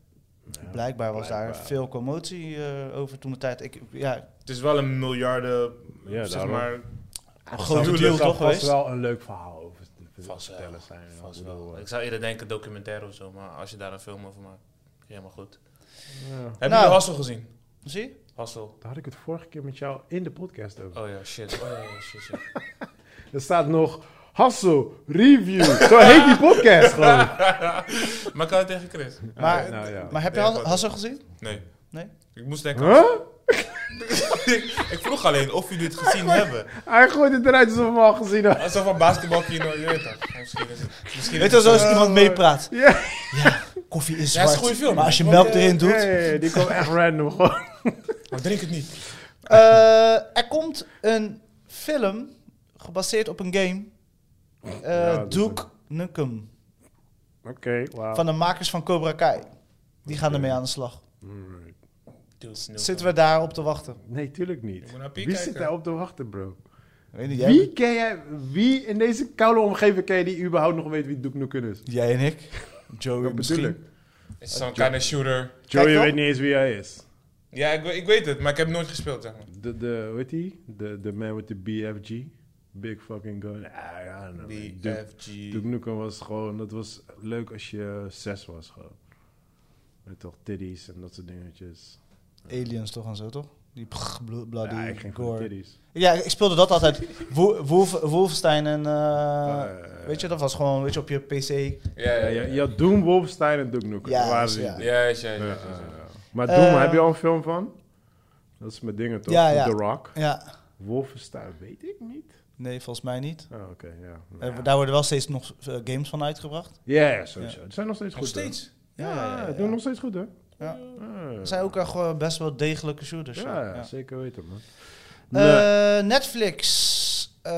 B: Blijkbaar was daar
A: blijkbaar.
B: veel commotie eh, over toen de tijd. Ik, ja,
C: Het is wel een miljarden,
A: Ja,
C: zeg
A: daarom.
C: maar.
B: een
A: Dat
B: grote deal toch
A: vast
B: geweest.
A: wel een leuk verhaal over te te
C: Vast wel,
A: vertellen zijn. ja.
C: vast
A: Ik bedoel,
C: wel.
A: eh,
C: Ik zou eerder denken documentaire of zo, maar als je daar een film over maakt, helemaal goed.
A: ja.
C: Heb
B: Nou.
C: je de Hassel gezien?
B: Zie je?
C: Hassel.
A: Daar had ik het vorige keer met jou in de podcast over.
C: Oh ja, shit. Oh ja, ja, shit, shit.
A: Er staat nog Hassel Review. Zo heet die
B: [LAUGHS]
A: podcast gewoon.
C: maar ik had het tegen Chris.
B: Maar,
A: nou ja.
B: maar heb je
C: Ja,
B: Has-
C: wat-
B: Hassel gezien?
C: Nee.
B: Nee?
C: Ik moest denken,
A: Huh?
C: ik vroeg alleen of jullie het gezien hebben.
A: Hij gooit het eruit alsof we hem al gezien hadden.
C: Alsof een basketbalkino, je weet dat. Misschien is het... Misschien
B: Weet
C: is
B: je,
C: het
B: zoals iemand
C: [LAUGHS]
B: meepraat.
A: Ja,
B: Koffie is
C: Eh,
B: zwart,
C: Ja, het is een goede film.
B: maar als je
C: Oké,
B: melk erin doet...
A: Ja, ja, ja, die kwam echt random gewoon.
C: Maar drink het niet.
B: Eh, er komt een film gebaseerd op een game. Eh,
A: Ja, dat is
B: Duke Nukem.
A: Oké, wauw.
B: Van de makers van Cobra Kai. Die gaan
A: Oké.
B: ermee aan de slag.
A: Alright.
B: Zitten we daarop te wachten?
A: Nee, tuurlijk
C: Ik
A: niet.
C: moet naar Piet
A: Wie zit
C: kijken.
A: daar op te wachten, bro?
B: Weet niet, jij,
A: Wie ken jij, wie in deze koude omgeving ken je die überhaupt nog weet wie Doek Nukem is?
B: jij en ik. Joey
A: Dat bedoel ik.
B: misschien.
C: Is zo'n kind of shooter.
A: Joey
B: wel.
A: weet niet eens wie hij is.
C: Ja, ik, we- ik weet het, maar ik heb nooit gespeeld, zeg maar.
A: De, de, hoe heet die? De, de man with the BFG. Big fucking gun. Ah, I don't know. Duke,
C: BFG.
A: Duke Nukem was gewoon, dat was leuk als je zes was gewoon. Met toch titties en dat soort dingetjes.
B: Aliens toch en zo, toch? Die pff, blo- bloody
A: ja, ik ging voor
B: gore.
A: titties.
B: Ja, ik speelde dat altijd. Wo- Wolf- Wolfenstein en...
A: Oh,
B: eh,
A: Eh,
B: weet je, dat was gewoon weet je, op je pc.
C: Ja,
A: Ja,
C: ja,
A: je,
C: ja.
A: je had Doom, Wolfenstein en Duke Nukem.
B: Ja,
A: Dat waren
B: dus
A: die
B: ja.
A: drie.
C: Ja, ja, ja,
A: Ja,
C: ja,
A: ja,
C: ja.
A: ja. Maar Doom,
B: Eh,
A: heb je al een film van? Dat is met dingen toch?
B: Ja,
A: Met
B: ja.
A: The Rock.
B: Ja.
A: Wolfenstein weet ik niet.
B: Nee, volgens mij niet.
A: Oh, oké, ja.
B: Eh,
A: Nou ja.
B: Daar worden wel steeds nog eh, games van uitgebracht.
A: Ja, ja, sowieso. Ze zijn nog steeds
C: Nog
A: goed, hè?
C: steeds.
A: Ja,
B: Ja,
A: ja,
B: ja, ja,
A: doen
B: ja.
A: nog steeds goed, hè?
B: Ja.
A: Ja.
B: Er zijn ook echt wel best wel degelijke shooters.
A: Ja,
B: ja.
A: zeker weten, man. Nee.
B: Eh, Netflix. eh,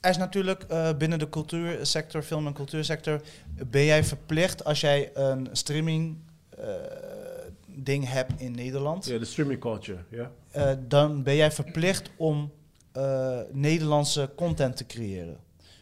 B: er is natuurlijk eh, binnen de cultuursector, film- en cultuursector, ben jij verplicht als jij een streaming eh, ding hebt in Nederland,
A: Ja, de streaming culture, ja.
B: eh, dan ben jij verplicht om eh, Nederlandse content te creëren.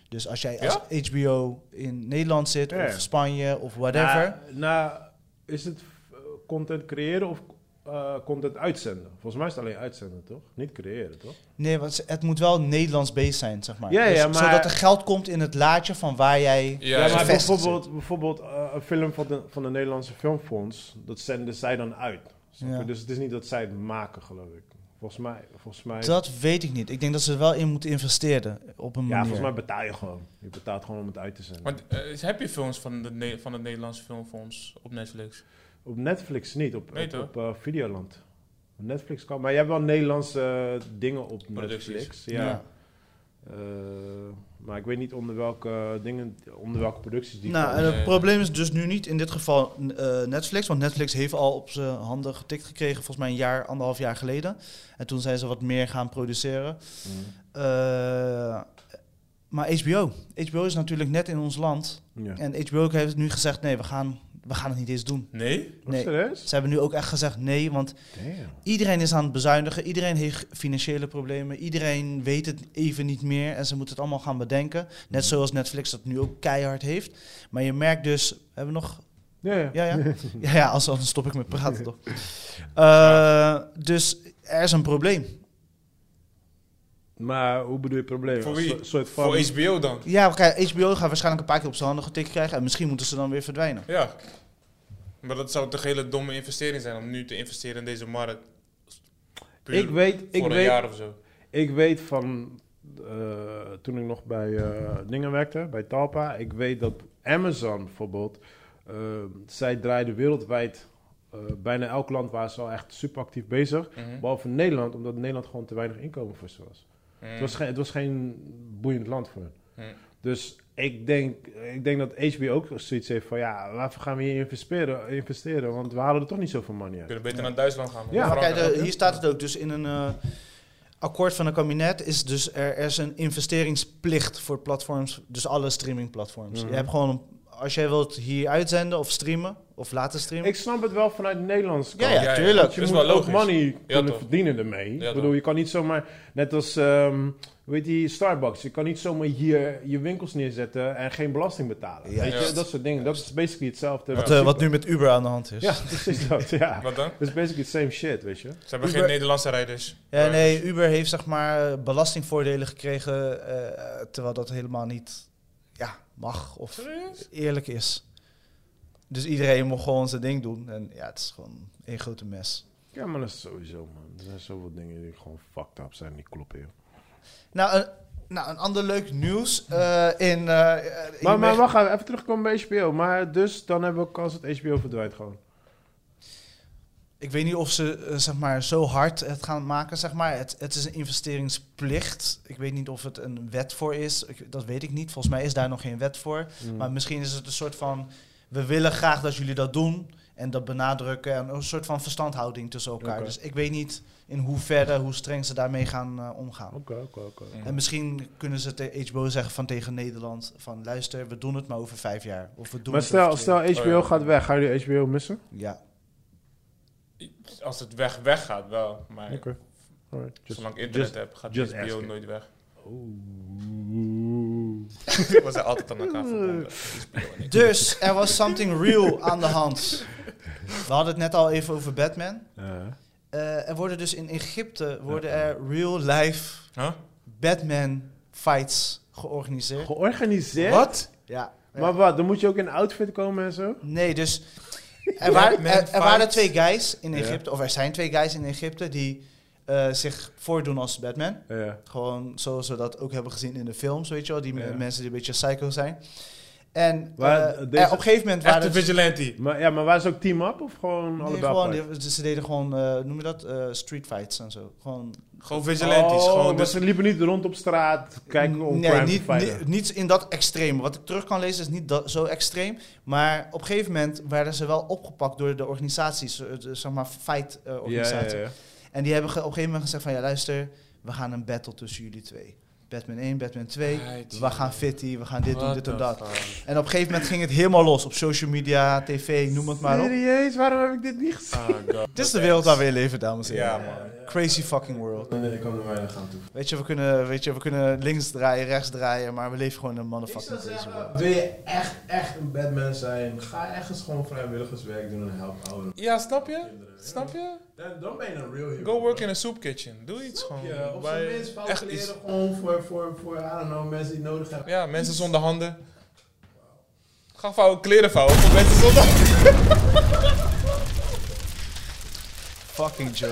B: Dus als jij als HBO in Nederland zit,
A: Ja.
B: of Spanje, of whatever.
A: Na, na- is het eh, content creëren of eh, eh, content uitzenden. Volgens mij is het alleen uitzenden, toch? Niet creëren, toch?
B: Nee, want ze- het moet wel Nederlands based zijn, zeg maar. Dus
A: Ja, ja, maar-
B: Zodat er geld komt in het laadje van waar jij...
C: Ja,
A: Ja,
C: ja.
A: maar
B: gevestigd
A: bijvoorbeeld, bijvoorbeeld eh, een film van de, van de Nederlandse Filmfonds, dat zenden zij dan uit. Snap je?
B: Ja.
A: Dus het is niet dat zij het maken, geloof ik. Volgens mij, volgens mij,
B: Dat weet ik niet. Ik denk dat ze er wel in moeten investeren op een
A: ja,
B: manier.
A: volgens mij betaal je gewoon. Je betaalt gewoon om het uit te zenden.
C: Want eh, heb je films van, de Ne- van het Nederlandse Filmfonds op Netflix?
A: Op Netflix niet, op,
C: Nee,
A: op,
C: toch?
A: op eh, Videoland. Op Netflix kan, maar je hebt wel Nederlandse eh, dingen op
C: Producties.
A: Netflix. Ja.
B: Ja.
A: Eh, maar ik weet niet onder welke eh, dingen, onder welke producties die
B: Nou,
A: komen.
B: en het
C: Nee.
B: probleem is dus nu niet in dit geval eh, Netflix. Want Netflix heeft al op zijn handen getikt gekregen, volgens mij een jaar, anderhalf jaar geleden. En toen zijn ze wat meer gaan produceren.
A: Mm.
B: Eh, maar HBO. HBO is natuurlijk net in ons land.
A: Mm. Ja.
B: En HBO heeft nu gezegd, nee, we gaan, we gaan het niet eens doen.
C: Nee?
A: Was
B: Nee.
A: serieus?
B: Ze hebben nu ook echt gezegd nee, want
A: Damn.
B: iedereen is aan het bezuinigen. Iedereen heeft financiële problemen. Iedereen weet het even niet meer en ze moeten het allemaal gaan bedenken. Net zoals Netflix dat nu ook keihard heeft. Maar je merkt dus, hebben we nog
A: Ja, ja.
B: ja, ja. ja, ja als, anders stop ik met praten toch. Eh, dus er is een probleem.
A: Maar hoe bedoel je probleem?
C: Voor
A: Als
C: wie?
A: een soort van...
C: Voor HBO dan?
B: Ja, kijk, HBO gaat waarschijnlijk een paar keer op zijn handen getikt krijgen. En misschien moeten ze dan weer verdwijnen.
C: Ja. Maar dat zou toch een hele domme investering zijn om nu te investeren in deze markt. Puur
A: ik weet, ik
C: voor een
A: weet,
C: jaar of zo.
A: ik weet van eh, toen ik nog bij eh, dingen werkte, bij Talpa. Ik weet dat Amazon bijvoorbeeld, eh, zij draaiden wereldwijd eh, bijna elk land waar ze al echt super actief bezig.
C: Mhm.
A: Behalve Nederland, omdat Nederland gewoon te weinig inkomen voor ze was.
C: Mhm.
A: Het was, geen, het was geen boeiend land voor hen.
C: Hmm.
A: Dus ik denk, ik denk dat HBO ook zoiets heeft van... ja, waarvoor gaan we hier investeren? investeren want we halen er toch niet zoveel money
C: We
A: uit.
C: kunnen beter naar Duitsland gaan.
A: Ja,
B: maar
C: Frankrijk.
B: kijk, eh, hier staat het ook. Dus in een eh, akkoord van een kabinet is dus er, er is een investeringsplicht voor platforms. Dus alle streamingplatforms.
A: Mhm.
B: Je hebt gewoon, een- als jij wilt hier uitzenden of streamen of laten streamen.
A: Ik snap het wel vanuit Nederlands kant.
B: ja, ja,
C: Ja, ja.
B: tuurlijk.
A: Want je
C: Dat is
A: moet
C: wel
A: ook
C: logisch.
A: money kunnen
C: toch.
A: verdienen ermee.
C: Ja,
A: ik bedoel,
C: toch.
A: je kan niet zomaar... Net als, ehm hoe heet die, Starbucks. Je kan niet zomaar hier je winkels neerzetten en geen belasting betalen.
B: Ja.
A: Weet je,
C: Ja.
A: dat soort dingen. Dat is basically hetzelfde.
B: Wat, eh,
A: principe.
B: wat nu met Uber aan de hand is.
A: Ja, precies dat,
C: [LAUGHS]
A: ja.
C: Wat dan?
A: Dat is basically the same shit, weet je.
C: Ze hebben
B: Uber-
C: geen Nederlandse rijders.
B: Ja, nee, Uber heeft zeg maar eh, belastingvoordelen gekregen, eh, terwijl dat helemaal niet ja, mag of
C: Serieus?
B: eerlijk is. Dus iedereen moet gewoon zijn ding doen. En ja, het is gewoon één grote mes.
A: Ja, maar dat is sowieso, man. Er zijn zoveel dingen die gewoon fucked up zijn, die kloppen, joh.
B: Nou, een, nou, een ander leuk nieuws eh, in... eh, eh,
A: Maar, maar
B: hiermee-
A: wacht even, even terugkomen bij HBO. Maar dus, dan hebben we kans dat HBO verdwijnt gewoon.
B: Ik weet niet of ze eh, zeg maar, zo hard het gaan maken. Zeg maar. het, het is een investeringsplicht. Ik weet niet of het een wet voor is. Ik- dat weet ik niet. Volgens mij is daar nog geen wet voor.
A: Hmm. Mm.
B: Maar misschien is het een soort van... We willen graag dat jullie dat doen. En dat benadrukken. En een soort van verstandhouding tussen elkaar.
A: Oké.
B: Dus ik weet niet in hoeverre, hoe streng ze daarmee gaan eh, omgaan.
A: Oké, oké, oké.
C: Mhm.
B: En misschien kunnen ze tegen HBO zeggen van tegen Nederland... van luister, we doen het maar over vijf jaar. Of we doen
A: Maar
B: het over
A: stel,
B: twee
A: stel
B: jaar.
A: HBO
C: Oh, ja.
A: gaat weg, ga je HBO missen?
B: Ja.
C: Als het weg weggaat, wel. Maar
A: Oké. Alright, just-
C: zolang ik internet
A: just-
C: heb, gaat
A: just
C: HBO
A: asking.
C: nooit weg. [LAUGHS]
B: Oh.
A: Oeh.
C: We zijn altijd aan elkaar verbonden. HBO en ik.
B: Dus er was something real aan de hand. We hadden het net al even over Batman.
A: Eh,
B: Eh, er worden dus in Egypte worden er real life
C: Huh?
B: Batman fights georganiseerd.
A: Georganiseerd?
C: Wat?
B: Ja.
A: Maar wat, dan moet je ook in een outfit komen en zo?
B: Nee, dus er, waren,
C: Batman
B: er, er waren
C: fights.
B: twee guys in
A: Ja.
B: Egypte, of er zijn twee guys in Egypte die eh, zich voordoen als Batman.
A: Ja.
B: Gewoon zoals we dat ook hebben gezien in de films, weet je wel, die me-
A: Ja.
B: mensen die een beetje psycho zijn. En
A: Maar
B: eh,
A: deze-
B: er- op een gegeven moment waren dus-
C: Echte
B: het-
C: vigilante.
A: Maar, ja, maar waren ze ook team-up of gewoon
B: nee,
A: allebei?
B: gewoon,
A: apart?
B: die- ze deden gewoon, eh, noem je dat, eh, street fights en zo. Gewoon
C: Gewoon vigilantes.
A: Oh,
C: gewoon
A: maar
C: dus
A: ze liepen niet rond op straat kijken om
B: nee,
A: crime
B: niet,
A: te
B: ni-
A: fighten.
B: niet in dat extreme. Wat ik terug kan lezen is niet dat, zo extreem. Maar op een gegeven moment werden ze wel opgepakt door de organisaties, eh, de, zeg maar fight eh,
A: Ja,
B: organisatie.
A: ja, ja.
B: En die hebben ge- op een gegeven moment gezegd van ja luister, we gaan een battle tussen jullie twee. Batman 1, Batman 2,
C: Ah,
B: we gaan fitty, we gaan dit doen,
C: What
B: dit
C: the
B: en dat.
C: fuck?
B: En op een gegeven moment ging het helemaal los op social media, tv, noem het maar op.
A: Serieus, waarom heb ik dit niet gezien?
C: Ah, god.
B: [LAUGHS] Dit is de wereld waar we in leven, dames en heren.
C: Ja, man.
B: Crazy fucking world.
A: Nee, ik kan er weinig aan toe.
B: Weet je, we kunnen, weet je, we kunnen links draaien, rechts draaien, maar we leven gewoon in een motherfucking crazy world.
A: Wil je echt, echt een Batman zijn, ga ergens gewoon vrijwilligerswerk doen en help ouderen.
C: Ja, snap je? Snap je?
A: Dan, dan ben je een real hero.
C: Go work in a soup kitchen. Doe iets
A: Snap
C: gewoon.
A: je? Of
C: Bij-
A: zo'n mensen
C: echt
A: fouten
C: iets.
A: leren gewoon voor, voor, voor, I don't know, mensen die nodig hebben.
C: Ja, mensen zonder handen. Ga vouwen, kleren vouwen voor mensen zonder handen.
B: Fucking Joey.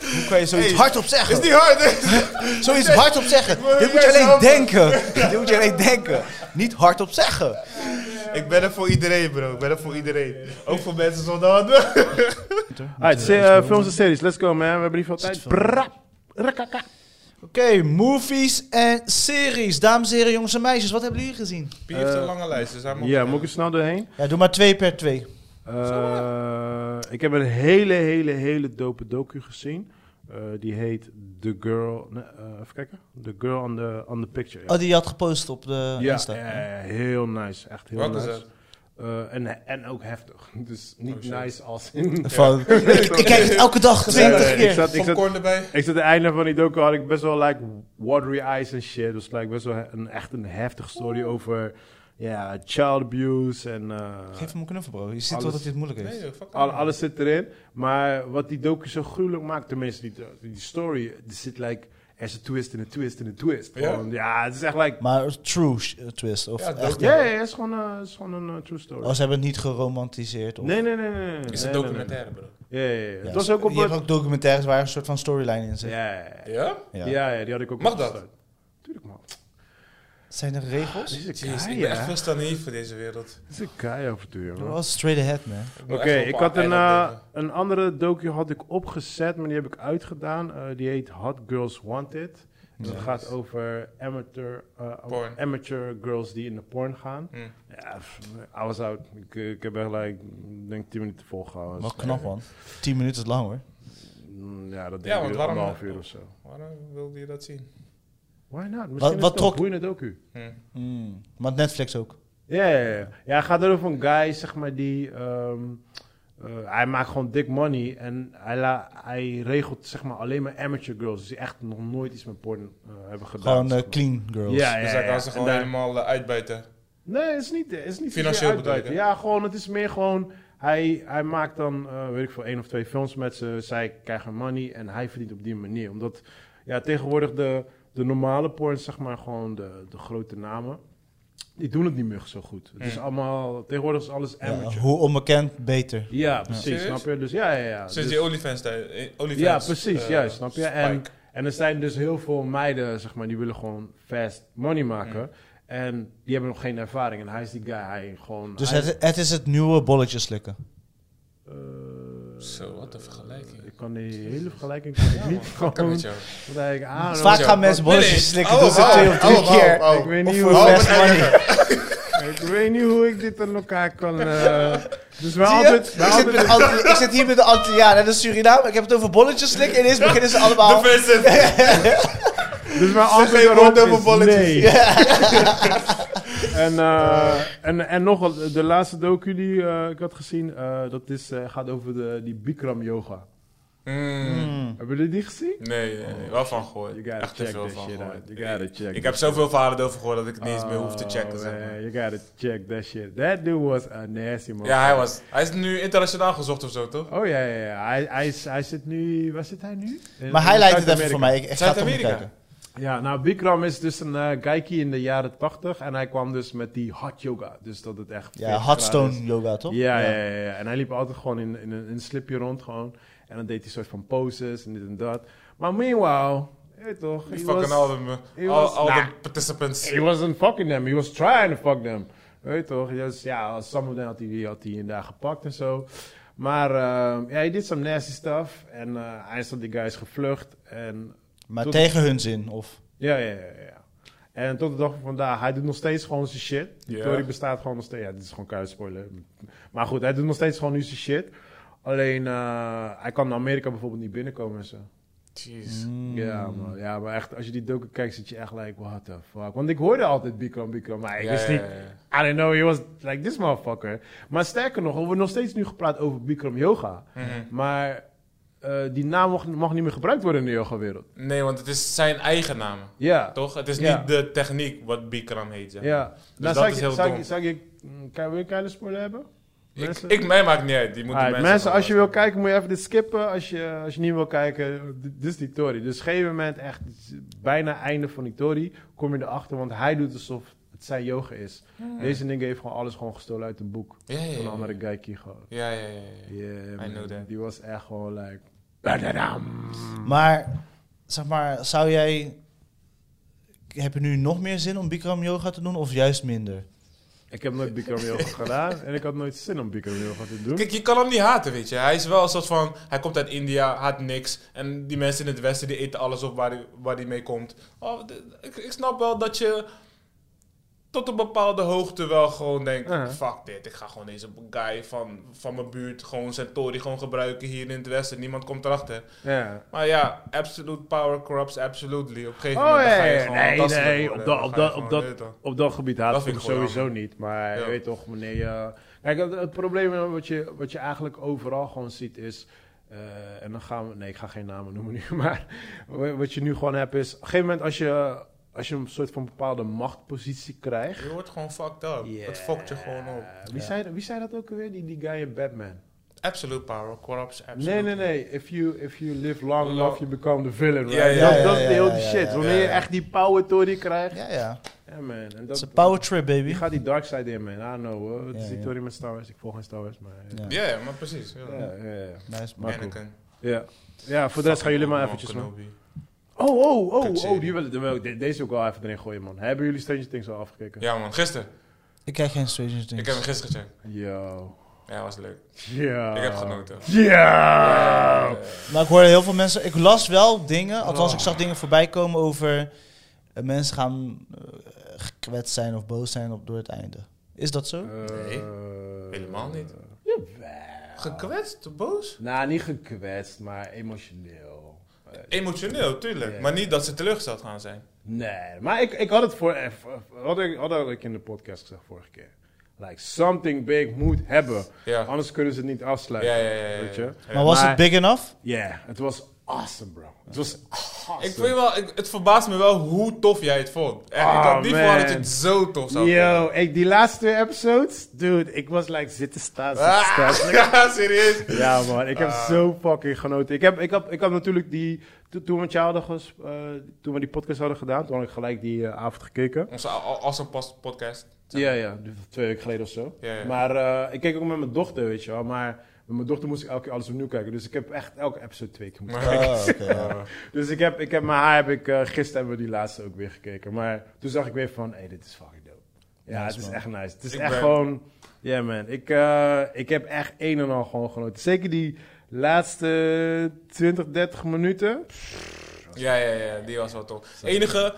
B: Hoe kan je zoiets
C: Hey,
B: hardop zeggen?
C: Is niet hard, [LAUGHS] hè?
B: Zoiets hardop zeggen.
C: wil
B: Dit moet je
C: juist
B: alleen
C: helpen.
B: denken. Dit moet je alleen denken. Niet hardop zeggen.
C: Ik ben er voor iedereen, bro. Ik ben er voor iedereen. Ook voor mensen zonder handen.
A: Alright, eh, films en series, let's go man. We hebben niet veel tijd. Bra, rakaka.
B: Oké, movies en series. Dames en heren, jongens en meisjes, wat hebben jullie gezien?
C: Pie heeft een lange lijst, dus hij moet...
A: Ja, moet ik er snel doorheen?
B: Ja, doe maar twee per twee.
A: Eh, ik heb een hele, hele, hele dope docu gezien. Eh, die heet The Girl... nee, eh, even kijken. The Girl on the, on the Picture. ja.
B: Oh, die had gepost op de
A: Ja,
B: Insta.
A: ja, ja, heel nice. Echt heel
C: Wat is
A: nice.
C: het?
A: Eh, en, en ook heftig. [LAUGHS] Dus niet
C: Oh, shit.
A: nice als in...
B: Van- [LAUGHS] ik, ik kijk het elke dag
C: Eh,
A: Ja, ja,
B: 20
A: ik
B: keer.
A: zat- ik zat-
C: Popcorn erbij.
A: Ik zat aan het einde van die docu had ik best wel like watery eyes en shit. Dus like best wel he- een, echt een heftige story over ja, child abuse en eh,
B: Geef hem een knuffel, bro. Je ziet
A: Alles.
B: wel dat hij het moeilijk heeft.
C: Nee, joh, fuck
A: al-
C: it.
A: alles zit erin. Maar wat die docu zo gruwelijk maakt, tenminste die, die story, er zit like er is een twist en een twist en een twist.
C: Ja?
A: Gewoon, ja, het is echt like
B: Maar true sh- eh, twist. Of
C: Ja, dat-
B: echt.
A: ja, ja, ja, het is gewoon, eh, het is gewoon een eh, true story.
B: Oh, ze hebben het niet geromantiseerd. Of...
A: Nee, nee, nee, nee. nee,
C: Is
A: nee,
C: het
A: nee,
C: documentaire, bro?
A: nee. Ja, ja, ja.
B: Ja,
A: Het was ook op
B: je hebt
A: het...
B: ook documentaires waar een soort van storyline in zit.
A: Ja, ja, ja.
C: Ja?
B: Ja.
A: Ja, ja, die had ik ook
C: Mag
A: opgestart.
C: dat?
A: Tuurlijk man.
B: Zijn er regels?
A: Dit is een
C: Jeez, ik
A: kei,
C: ben echt
A: hè?
C: veel te naïef voor deze wereld.
A: Dit is een kei avontuur, man.
B: Wel straight ahead, man.
C: Ik
A: Oké,
C: wil echt op
A: ik had
C: een
A: een,
C: eiland
A: eh, een andere docu had ik opgezet, maar die heb ik uitgedaan. Eh, die heet Hot Girls Wanted. Dus
B: Ja.
A: het gaat over amateur, eh,
C: Porn.
A: amateur girls die in de porn gaan.
C: leven.
A: Ja, pff, I was out. Ik, eh, ik heb echt, like, ik denk 10 minuten volgehouden. Dus,
B: Wel knap, man. 10 minuten is lang, hoor.
A: Mm, Ja, dat
C: Ja,
A: denk
C: want
A: ik
C: waarom-
A: anderhalf uur of zo.
C: Hm. Waarom wilde je dat zien?
A: Why not? Misschien is
B: wat
A: het wel een
B: trok-
A: boeiende docu.
C: Hm.
B: Mm. Maar Netflix ook.
A: Ja, ja, ja. ja, het gaat over een guy, zeg maar, die... ehm, eh, hij maakt gewoon dik money en hij, la- hij regelt, zeg maar, alleen maar amateur girls. Dus Die echt nog nooit iets met porn eh, hebben gedaan.
B: Gewoon eh,
A: zeg maar.
B: clean girls.
A: Ja, ja,
C: dus
A: ja.
C: hij kan ze
A: En
C: gewoon
A: daar-
C: helemaal eh, uitbuiten.
A: Nee, het is niet, het is niet
C: Financieel
A: zozeer
C: bedoel
A: uitbuiten.
C: ik, hè?
A: Ja, gewoon, het is meer gewoon... Hij, hij maakt dan, eh, weet ik veel, één of twee films met ze. Zij krijgen money en hij verdient op die manier. Omdat, ja, tegenwoordig de, de normale porn, zeg maar, gewoon de, de grote namen... Die doen het niet meer zo goed. Het is
C: Hmm.
A: allemaal... Tegenwoordig is alles
B: Ja,
A: amateur.
B: hoe onbekend, beter.
A: Ja, precies.
C: Serieus?
A: Snap je? Dus ja, ja, ja.
C: Sinds
A: Dus-
C: die OnlyFans tijd. eh, OnlyFans,
A: ja, precies.
C: eh,
A: juist, snap je? En,
C: spike.
A: en er zijn dus heel veel meiden, zeg maar, die willen gewoon fast money maken.
C: Mm.
A: En die hebben nog geen ervaring. En hij is die guy, hij gewoon...
B: Dus
A: hij-
B: het, het is het nieuwe bolletje slikken.
A: Eh,
C: Zo, wat een vergelijking.
A: Ik kan die hele vergelijking kan ik
C: Ja, man,
A: niet
C: fuck
A: gewoon...
C: met jou.
A: want hij- ah, dat-
B: Vaak
C: zo.
B: gaan mensen
C: Nee, nee.
B: bolletjes slikken,
C: Oh,
B: doen ze
C: oh,
B: twee of
C: oh,
B: drie
C: oh,
B: keer.
C: oh.
A: Ik weet
B: Of
A: niet
B: voor
A: hoe...
C: Oh,
B: fast
C: wat
B: money.
A: Ik weet niet hoe ik dit aan elkaar kan...
B: [LAUGHS]
A: eh dus wij
B: Zie je?
A: altijd... wij
B: Ik zit
A: altijd
B: met Anti- Ik zit hier met de Antilliaan en de Surinaam. Ik heb het over bolletjes slikken en ineens beginnen ze
C: De
B: allemaal...
C: Vincent!
A: dus wij altijd
C: geen woord
A: erop
C: over
A: is
C: bolletjes.
A: nee. [LAUGHS] en, eh, en, en nog wat, de laatste docu die eh, ik had gezien, eh, dat is, eh, gaat over de, die Bikram yoga.
C: Mm.
B: Mm.
A: Hebben jullie die gezien?
C: Nee, nee, nee, wel van
A: You
C: gehoord.
A: gotta
C: Echt te
A: check
C: veel
A: that
C: van
A: shit out.
C: gehoord.
A: You gotta check
C: Ik
A: that
C: heb zoveel verhalen over gehoord dat ik het niet eens meer hoef te
A: Oh,
C: checken. zeg
A: man,
C: maar.
A: You gotta check that shit. That dude was a nasty man.
C: Ja, hij was. Hij is nu internationaal gezocht of zo, toch?
A: Oh ja, ja, ja. Hij, hij, is- hij zit nu... Waar zit hij nu? In-
B: Maar
A: in
B: hij leidt het even
A: Zuid-Amerika.
B: voor mij. Ik, ik ga het toch
C: Zuid-Amerika.
B: kijken.
A: Ja, nou, Bikram is dus een eh geikie in de jaren 80 En hij kwam dus met die hot yoga. Dus dat het echt... 40
B: Ja,
A: graden is.
B: hotstone yoga, toch?
A: Ja, ja, ja, ja. En hij liep altijd gewoon in, in, een- in een slipje rond gewoon. En dan deed hij soort van poses en dit en dat. Maar meanwhile, je weet toch?
C: Ik
A: he
C: fucking
A: was-
C: al de
A: he
C: al-
A: was-
C: al
A: nah.
C: de participants.
A: He wasn't fucking them, he was trying to fuck them. Weet toch? Dus ja, sommige had hij die had hij inderdaad gepakt en zo. Maar ehm, ja, hij deed some nasty stuff. En eh, hij is tot die guys gevlucht. En
B: Maar
A: Tot-
B: tegen hun zin, of...
A: ja, ja, ja, ja. En tot de dag van vandaag, hij doet nog steeds gewoon zijn shit. Die
C: Ja.
A: Tory bestaat gewoon nog steeds. Ja, dit is gewoon kuit spoiler. Maar goed, hij doet nog steeds gewoon nu zijn shit. Alleen, eh, hij kan naar Amerika bijvoorbeeld niet binnenkomen en zo.
C: Jeez.
A: Mm. Ja, man. Ja, maar echt, als je die docu kijkt, zit je echt like, what the fuck. Want ik hoorde altijd Bikram, Bikram, maar ik
C: Ja,
A: wist
C: ja,
A: niet...
C: ja, ja.
A: I don't know, he was like this motherfucker. Maar sterker nog, we hebben nog steeds nu gepraat over Bikram Yoga.
C: Mhm.
A: Maar eh, die naam mag, mag niet meer gebruikt worden in de yogawereld.
C: Nee, want het is zijn eigen naam.
A: Ja,
C: Toch? Het is
A: Ja.
C: niet de techniek wat Bikram heet. Zeg. maar.
A: ja. nou,
C: Dus dat
A: zou
C: is
A: ik-
C: heel
A: zou ik-
C: dom.
A: zou ik- mm, kan- Wil je kleine spoiler hebben?
C: Ik,
A: Mensen?
C: ik, mij maakt niet uit. Die moeten
A: Alright,
C: mensen,
A: mensen,
C: gaan
A: als je wil kijken, moet je even dit skippen. Als je, als je niet wil kijken, d- dit is die Tory. Dus op een gegeven moment, echt het is bijna einde van die Tory, kom je erachter. Want hij doet alsof het zijn yoga is. Deze ding heeft gewoon alles gewoon gestolen uit een boek.
C: Ja, ja, ja.
A: Van een andere geikie gewoon.
C: Ja, ja, ja. ja.
A: Yeah, man.
C: know that.
A: Die was echt gewoon like... badadam.
B: Maar zeg maar, zou jij. Heb je nu nog meer zin om Bikram yoga te doen of juist minder?
A: Ik heb
C: [LAUGHS]
A: nooit Bikram yoga gedaan. En ik had nooit zin om Bikram yoga te doen.
C: Kijk, je kan hem niet haten, weet je. Hij is wel een soort van... Hij komt uit India, haat niks. En die mensen in het Westen, die eten alles op waar die, waar die mee komt. Oh, d- ik, ik snap wel dat je tot een bepaalde hoogte wel gewoon denkt...
A: Ja.
C: Fuck dit, ik ga gewoon deze guy van, van mijn buurt gewoon zijn tory gewoon gebruiken hier in het Westen. Niemand komt erachter.
A: Ja.
C: Maar ja, absolute power corrupts absolutely. Op een gegeven
A: Oh
C: moment dan
A: ja,
C: ga je
A: ja,
C: gewoon
A: nee,
C: tastelijk
A: nee, op
C: worden.
A: dat, op dat,
C: Dan ga je gewoon
A: op dat,
C: dit al.
A: op dat gebied haat
C: Dat
A: ik
C: vind
A: hem
C: ik gewoon
A: sowieso niet. Maar
C: Ja.
A: je weet toch, wanneer je... Kijk, het, het probleem eh, wat je, wat je eigenlijk overal gewoon ziet is... eh, en dan gaan we... Nee, ik ga geen namen noemen nu. [LAUGHS] Maar wa- wat je nu gewoon hebt is... Op een gegeven moment als je, als je een soort van bepaalde machtpositie krijgt...
C: Je wordt gewoon fucked up. Het fokt je gewoon op.
A: Wie,
B: Ja.
A: zei, wie zei dat ook alweer? Die, die guy in Batman.
C: Absolute power corrupts absolutely.
A: Nee, nee, nee. If you, if you live long
C: Long.
A: enough, you become the villain, right?
C: Ja, ja,
A: dat
B: ja,
A: dat is
B: ja,
A: de hele
B: ja, ja,
A: shit.
B: ja.
A: Wanneer je echt die power tory krijgt...
B: Ja, ja.
A: Ja, man. En
B: Het is
A: dat,
B: een power trip,
A: Wie
B: baby.
A: gaat die dark side in, man? I don't know, hoor. Het
B: Ja,
A: is die
B: ja.
A: tory met Star Wars. Ik volg geen Star Wars, maar... Ja,
B: Ja.
C: Ja, ja, maar precies. Ja.
A: ja, ja. ja.
B: Nice, man.
A: Maar cool.
C: Anakin.
A: Ja. Ja, voor de rest gaan jullie maar
C: Obi-Wan
A: eventjes, man.
C: Kenobi.
A: Oh, oh, oh,
C: Kutserie.
A: oh. Die wil, die wil ik- de- deze ook wel even erin gooien, man. Hebben jullie Stranger Things al afgekeken?
C: Ja man, gisteren.
B: Ik kijk geen Stranger Things.
C: Ik heb hem gisteren gecheckt.
A: Yo.
C: Ja, was leuk.
A: Ja.
C: Ik heb genoten.
A: Ja.
B: Maar ik hoorde heel veel mensen. Ik las wel dingen.
A: Oh.
B: Althans, ik zag dingen voorbij komen over. eh, mensen gaan eh, gekwetst zijn of boos zijn op, door het einde. Is dat zo?
A: Eh,
C: Nee. Helemaal niet.
A: Jawel.
C: Gekwetst, boos?
A: Nou, niet gekwetst, maar emotioneel.
C: Emotioneel, tuurlijk.
A: Ja.
C: Maar niet dat ze teleurgesteld gaan zijn.
A: Nee, maar ik, ik had het voor, eh, had ik, had, had ik in de podcast gezegd vorige keer. Like, something big moet hebben.
C: Ja.
A: Anders kunnen ze het niet
C: Ja,
A: afsluiten.
C: ja, ja. ja,
A: Weet je?
C: Ja.
B: Maar was
A: Maar-
B: het big enough?
A: [LAUGHS] Yeah, het was awesome, bro. Het was awesome.
C: Ik vind wel, ik, het verbaast me wel hoe tof jij het vond. Echt, ik
A: Ah,
C: had niet verwacht dat je
A: man.
C: het zo tof zou
A: Yo, ik, die laatste twee episodes, dude, ik was like zitten staan, zitten staan.
C: vinden. [LAUGHS] Ja, serieus.
A: Ja, man, ik heb
C: Ah.
A: zo fucking genoten. Ik, heb, ik, had, ik had natuurlijk die, to- toen we, met jou hadden ges- eh, toen we die podcast hadden gedaan, toen had ik gelijk die eh, avond gekeken.
C: Onze a- a- awesome pas- podcast.
A: Ja, ja, die van twee weken geleden of zo.
C: Ja, ja.
A: Maar eh, ik keek ook met mijn dochter, weet je wel. Maar met mijn dochter moest ik elke keer alles opnieuw kijken. Dus ik heb echt elke episode twee keer moeten kijken.
B: Oh, oké, ja.
A: Dus ik heb, ik heb mijn haar, heb ik, eh, gisteren hebben we die laatste ook weer gekeken. Maar toen zag ik weer van, hé, hey, dit is fucking dope. Ja,
B: Nice,
A: het is
B: man.
A: echt nice. Het is
C: Ik
A: echt
C: ben-
A: gewoon, ja man, ik, eh, ik heb echt een en al gewoon genoten. Zeker die laatste 20, 30 minuten.
C: Ja, ja, ja, die was wel tof. Enige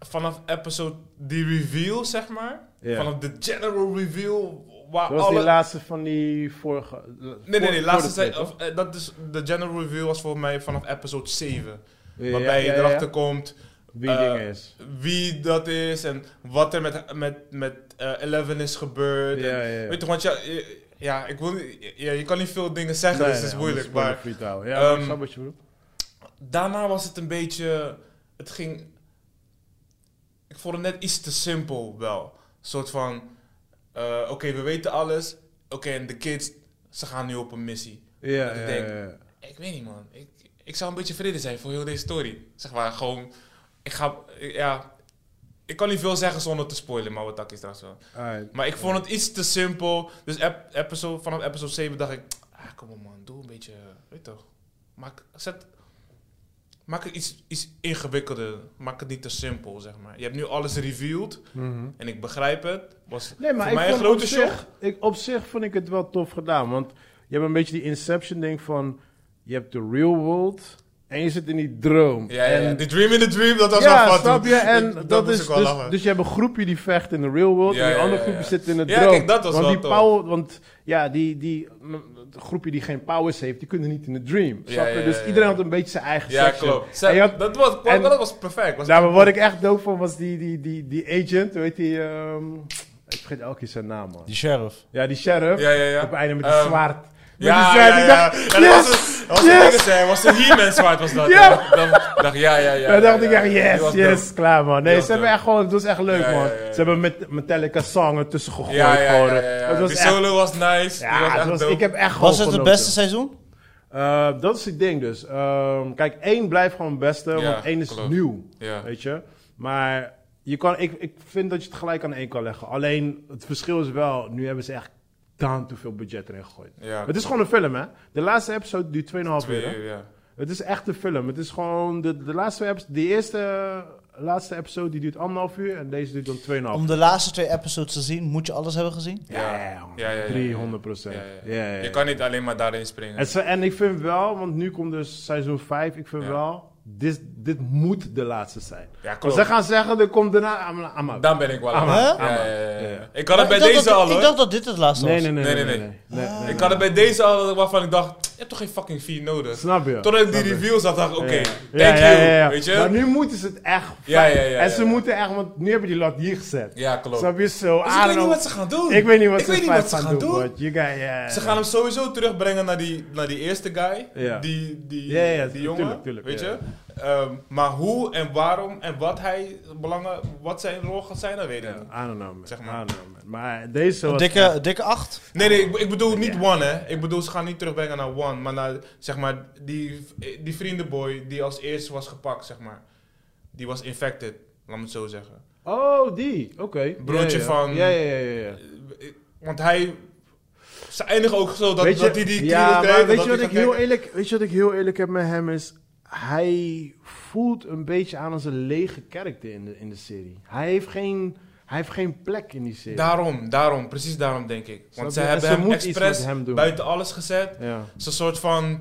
C: vanaf episode die reveal, zeg maar.
A: Ja.
C: Vanaf de general reveal. Waar
A: Dat was
C: alle...
A: die laatste van die vorige...
C: Nee, nee, nee. Laatste
A: tijd.
C: zijn, of, eh, dat is, de general reveal was volgens mij vanaf episode 7. waarbij je erachter komt
A: Wie
C: eh,
A: ding is.
C: wie dat is en wat er met, met, met eh, Eleven is gebeurd.
A: Ja,
C: en-
A: ja, ja.
C: Weet je, want ja, je- ja, ik wil, niet- ja, je kan niet veel dingen zeggen, dus het is moeilijk. Maar
A: Ja,
C: Ehm,
A: maar ik snap wat je bedoelt.
C: daarna was het een beetje. Het ging. Ik vond het net iets te simpel wel. Een soort van. eh, Oké, we weten alles. Oké, en de kids, ze gaan nu op een missie.
A: Ja,
C: ik
A: ja,
C: denk-
A: ja, ja.
C: Ik weet niet, man. Ik, ik zou een beetje vrede zijn voor heel deze story. Zeg maar, gewoon. Ik ga. ik- Ja. Ik kan niet veel zeggen zonder te spoilen, maar wat dat is straks wel.
A: Alright.
C: Maar ik vond het iets te simpel. Dus ep- episode, vanaf episode 7 dacht ik. Ah, kom op, man. Doe een beetje. eh, Weet toch? Maak, zet, maak het iets, iets ingewikkelder. Maak het niet te simpel, zeg maar. Je hebt nu alles revealed.
A: Mhm.
C: En ik begrijp het. Was
A: Nee, maar
C: voor
A: ik
C: mij een
A: vond op
C: grote shock.
A: zich, ik, op zich vond ik het wel tof gedaan. Want je hebt een beetje die Inception-ding van... Je hebt de real world en je zit in die droom.
C: Ja, ja,
A: en,
C: ja. The Dream in the Dream, dat was
A: Ja,
C: wel wat.
A: snap je? En dat,
C: moest
A: is
C: ik wel
A: dus,
C: lachen.
A: dus je hebt een groepje die vecht in de real world
C: Ja,
A: en een
C: ja,
A: andere
C: ja,
A: groepje
C: ja.
A: zit in de
C: Ja,
A: droom.
C: kijk, dat was
A: want
C: wel
A: die
C: tof.
A: power, want ja, die, die het groepje die geen powers heeft, die kunnen niet in de dream.
C: Ja,
A: snap je?
C: ja, ja,
A: dus
C: ja.
A: iedereen had een beetje zijn eigen
C: Ja,
A: section.
C: klopt.
A: En je had-
C: dat, was,
A: en-
C: dat was perfect. Was
A: Nou, maar wat ik echt doof vond was die, die, die, die agent, weet die, ehm, ik vergeet elke keer zijn naam, man.
B: Die sheriff.
A: Ja, die sheriff.
C: Ja, ja, ja.
A: Op het einde met die
C: Ehm,
A: zwaard.
C: Ja,
A: die
C: ja,
A: zwaard.
C: ja.
A: Ik
C: ja.
A: dacht,
C: Dat was
A: yes,
C: een- dat was een
A: yes.
C: ding, zei, was een He-Man zwaard was dat.
A: [LAUGHS] Ja.
C: hè? Dan dacht ik, ja, ja, ja.
A: Dan dacht
C: ja,
A: ik
C: ja.
A: echt,
C: Die was
A: yes,
C: dope.
A: yes, klaar man. Nee,
C: Die was
A: ze hebben
C: dope.
A: echt gewoon, het was echt leuk
C: Ja, ja,
A: man.
C: ja, ja.
A: Ze hebben met Metallica zang ertussen gegooid.
C: Ja, ja,
A: gewoon.
C: ja, ja, ja.
A: Het was
C: Die
A: echt,
C: solo was nice. Die was
A: ja, het
C: echt
A: was,
C: dope.
A: ik heb echt gewoon
B: Was het het
A: genoten.
B: beste seizoen?
A: Eh, dat is het ding dus. Ehm, kijk, één blijft gewoon het beste,
C: Ja,
A: want één is
C: klopt.
A: nieuw.
C: Ja.
A: Weet je? Maar je kan, ik, ik vind dat je het gelijk aan één kan leggen. Alleen het verschil is wel, nu hebben ze echt down te veel budget erin gegooid.
C: Ja,
A: het is gewoon een film, hè? De laatste episode duurt 2,5
C: twee eh.
A: uur. hè?
C: uur, ja.
A: Het is echt een film. Het is gewoon de, de laatste episode, de eerste laatste episode die duurt anderhalf uur en deze duurt dan 2,5 uur.
B: Om de laatste twee episodes te zien, moet je alles hebben gezien?
A: Ja,
C: Ja, ja, ja, ja.
A: 300 procent.
C: Ja, ja, ja.
A: Ja, ja, ja.
C: Je kan niet alleen maar daarin springen.
A: En, ze- en ik vind wel, want nu komt dus seizoen 5, ik vind
C: Ja.
A: wel, dit, dit moet de laatste zijn.
C: Ja,
A: Want
C: klopt.
A: ze gaan zeggen, er komt daarna... I'm, I'm out.
C: Dan ben ik wel
A: Ah,
C: aan.
A: maar,
B: Hè?
A: ah, maar.
C: Ja, ja, ja, ja.
A: Ja.
C: Ik had het bij
B: Maar ik dacht
C: deze
B: dat-
C: al hoor.
B: Ik dacht dat dit het laatste
A: Nee,
B: was.
A: nee, nee.
C: Nee,
A: nee, nee,
C: nee,
A: nee. nee, nee,
C: Ik had het bij deze al waarvan ik dacht, je hebt toch geen fucking 4 nodig?
A: Snap je?
C: Totdat ik die
A: Snap je.
C: review zag, dacht ik, oké,
A: Ja.
C: thank
A: Ja, ja,
C: you.
A: ja, ja.
C: Weet je?
A: Maar nu moeten ze het echt...
C: Ja, ja, ja,
A: en ze
C: ja.
A: moeten echt, want nu hebben die lat hier gezet.
C: Ja, klopt.
A: Snap je? Zo,
C: Dus
A: I
C: ik weet
A: don't
C: niet
A: know.
C: wat ze gaan doen.
A: Ik weet niet wat
C: Ik
A: ze,
C: weet niet
A: vijf
C: wat ze
A: gaan
C: gaan
A: doen.
C: doen.
A: but You got, yeah.
C: Ze gaan hem sowieso terugbrengen naar die, naar die eerste guy.
A: Ja.
C: Die, die,
A: Ja, ja,
C: die jongen.
A: tuurlijk, tuurlijk,
C: weet
A: ja.
C: je? Ehm, maar hoe en waarom en wat, hij belangen, wat zijn rol gaat zijn, dat weet ik niet.
A: I don't know, man.
C: Zeg maar.
A: I don't know, man. Maar deze
B: Een
A: was...
B: dikke, een dikke acht.
C: Nee, nee, ik, ik bedoel niet One, hè. Ik bedoel, ze gaan niet terugbrengen naar One, maar naar, zeg maar, die, die vriendenboy die als eerste was gepakt, zeg maar. Die was infected, laat me het zo zeggen.
A: Oh, die. Oké.
C: Broertje
A: Ja, ja.
C: van-
A: Ja, ja, ja, ja, ja.
C: Eh, Want hij, ze eindigen ook zo dat,
A: Weet je-
C: dat hij die
A: ja,
C: kriebel
A: maar
C: krijgt en
A: Weet
C: dat
A: je wat
C: hij
A: ik
C: gaat
A: heel
C: kijken.
A: eerlijk, weet je wat ik heel eerlijk heb met hem is, hij voelt een beetje aan als een lege karakter in de, in de serie. Hij heeft geen, hij heeft geen plek in die serie.
C: Daarom, daarom, precies daarom denk ik.
A: Snap
C: Want ze
A: je? En
C: hebben
A: ze
C: hem
A: moet iets met
C: expres
A: hem doen.
C: buiten alles gezet.
A: ja.
C: Zo'n soort van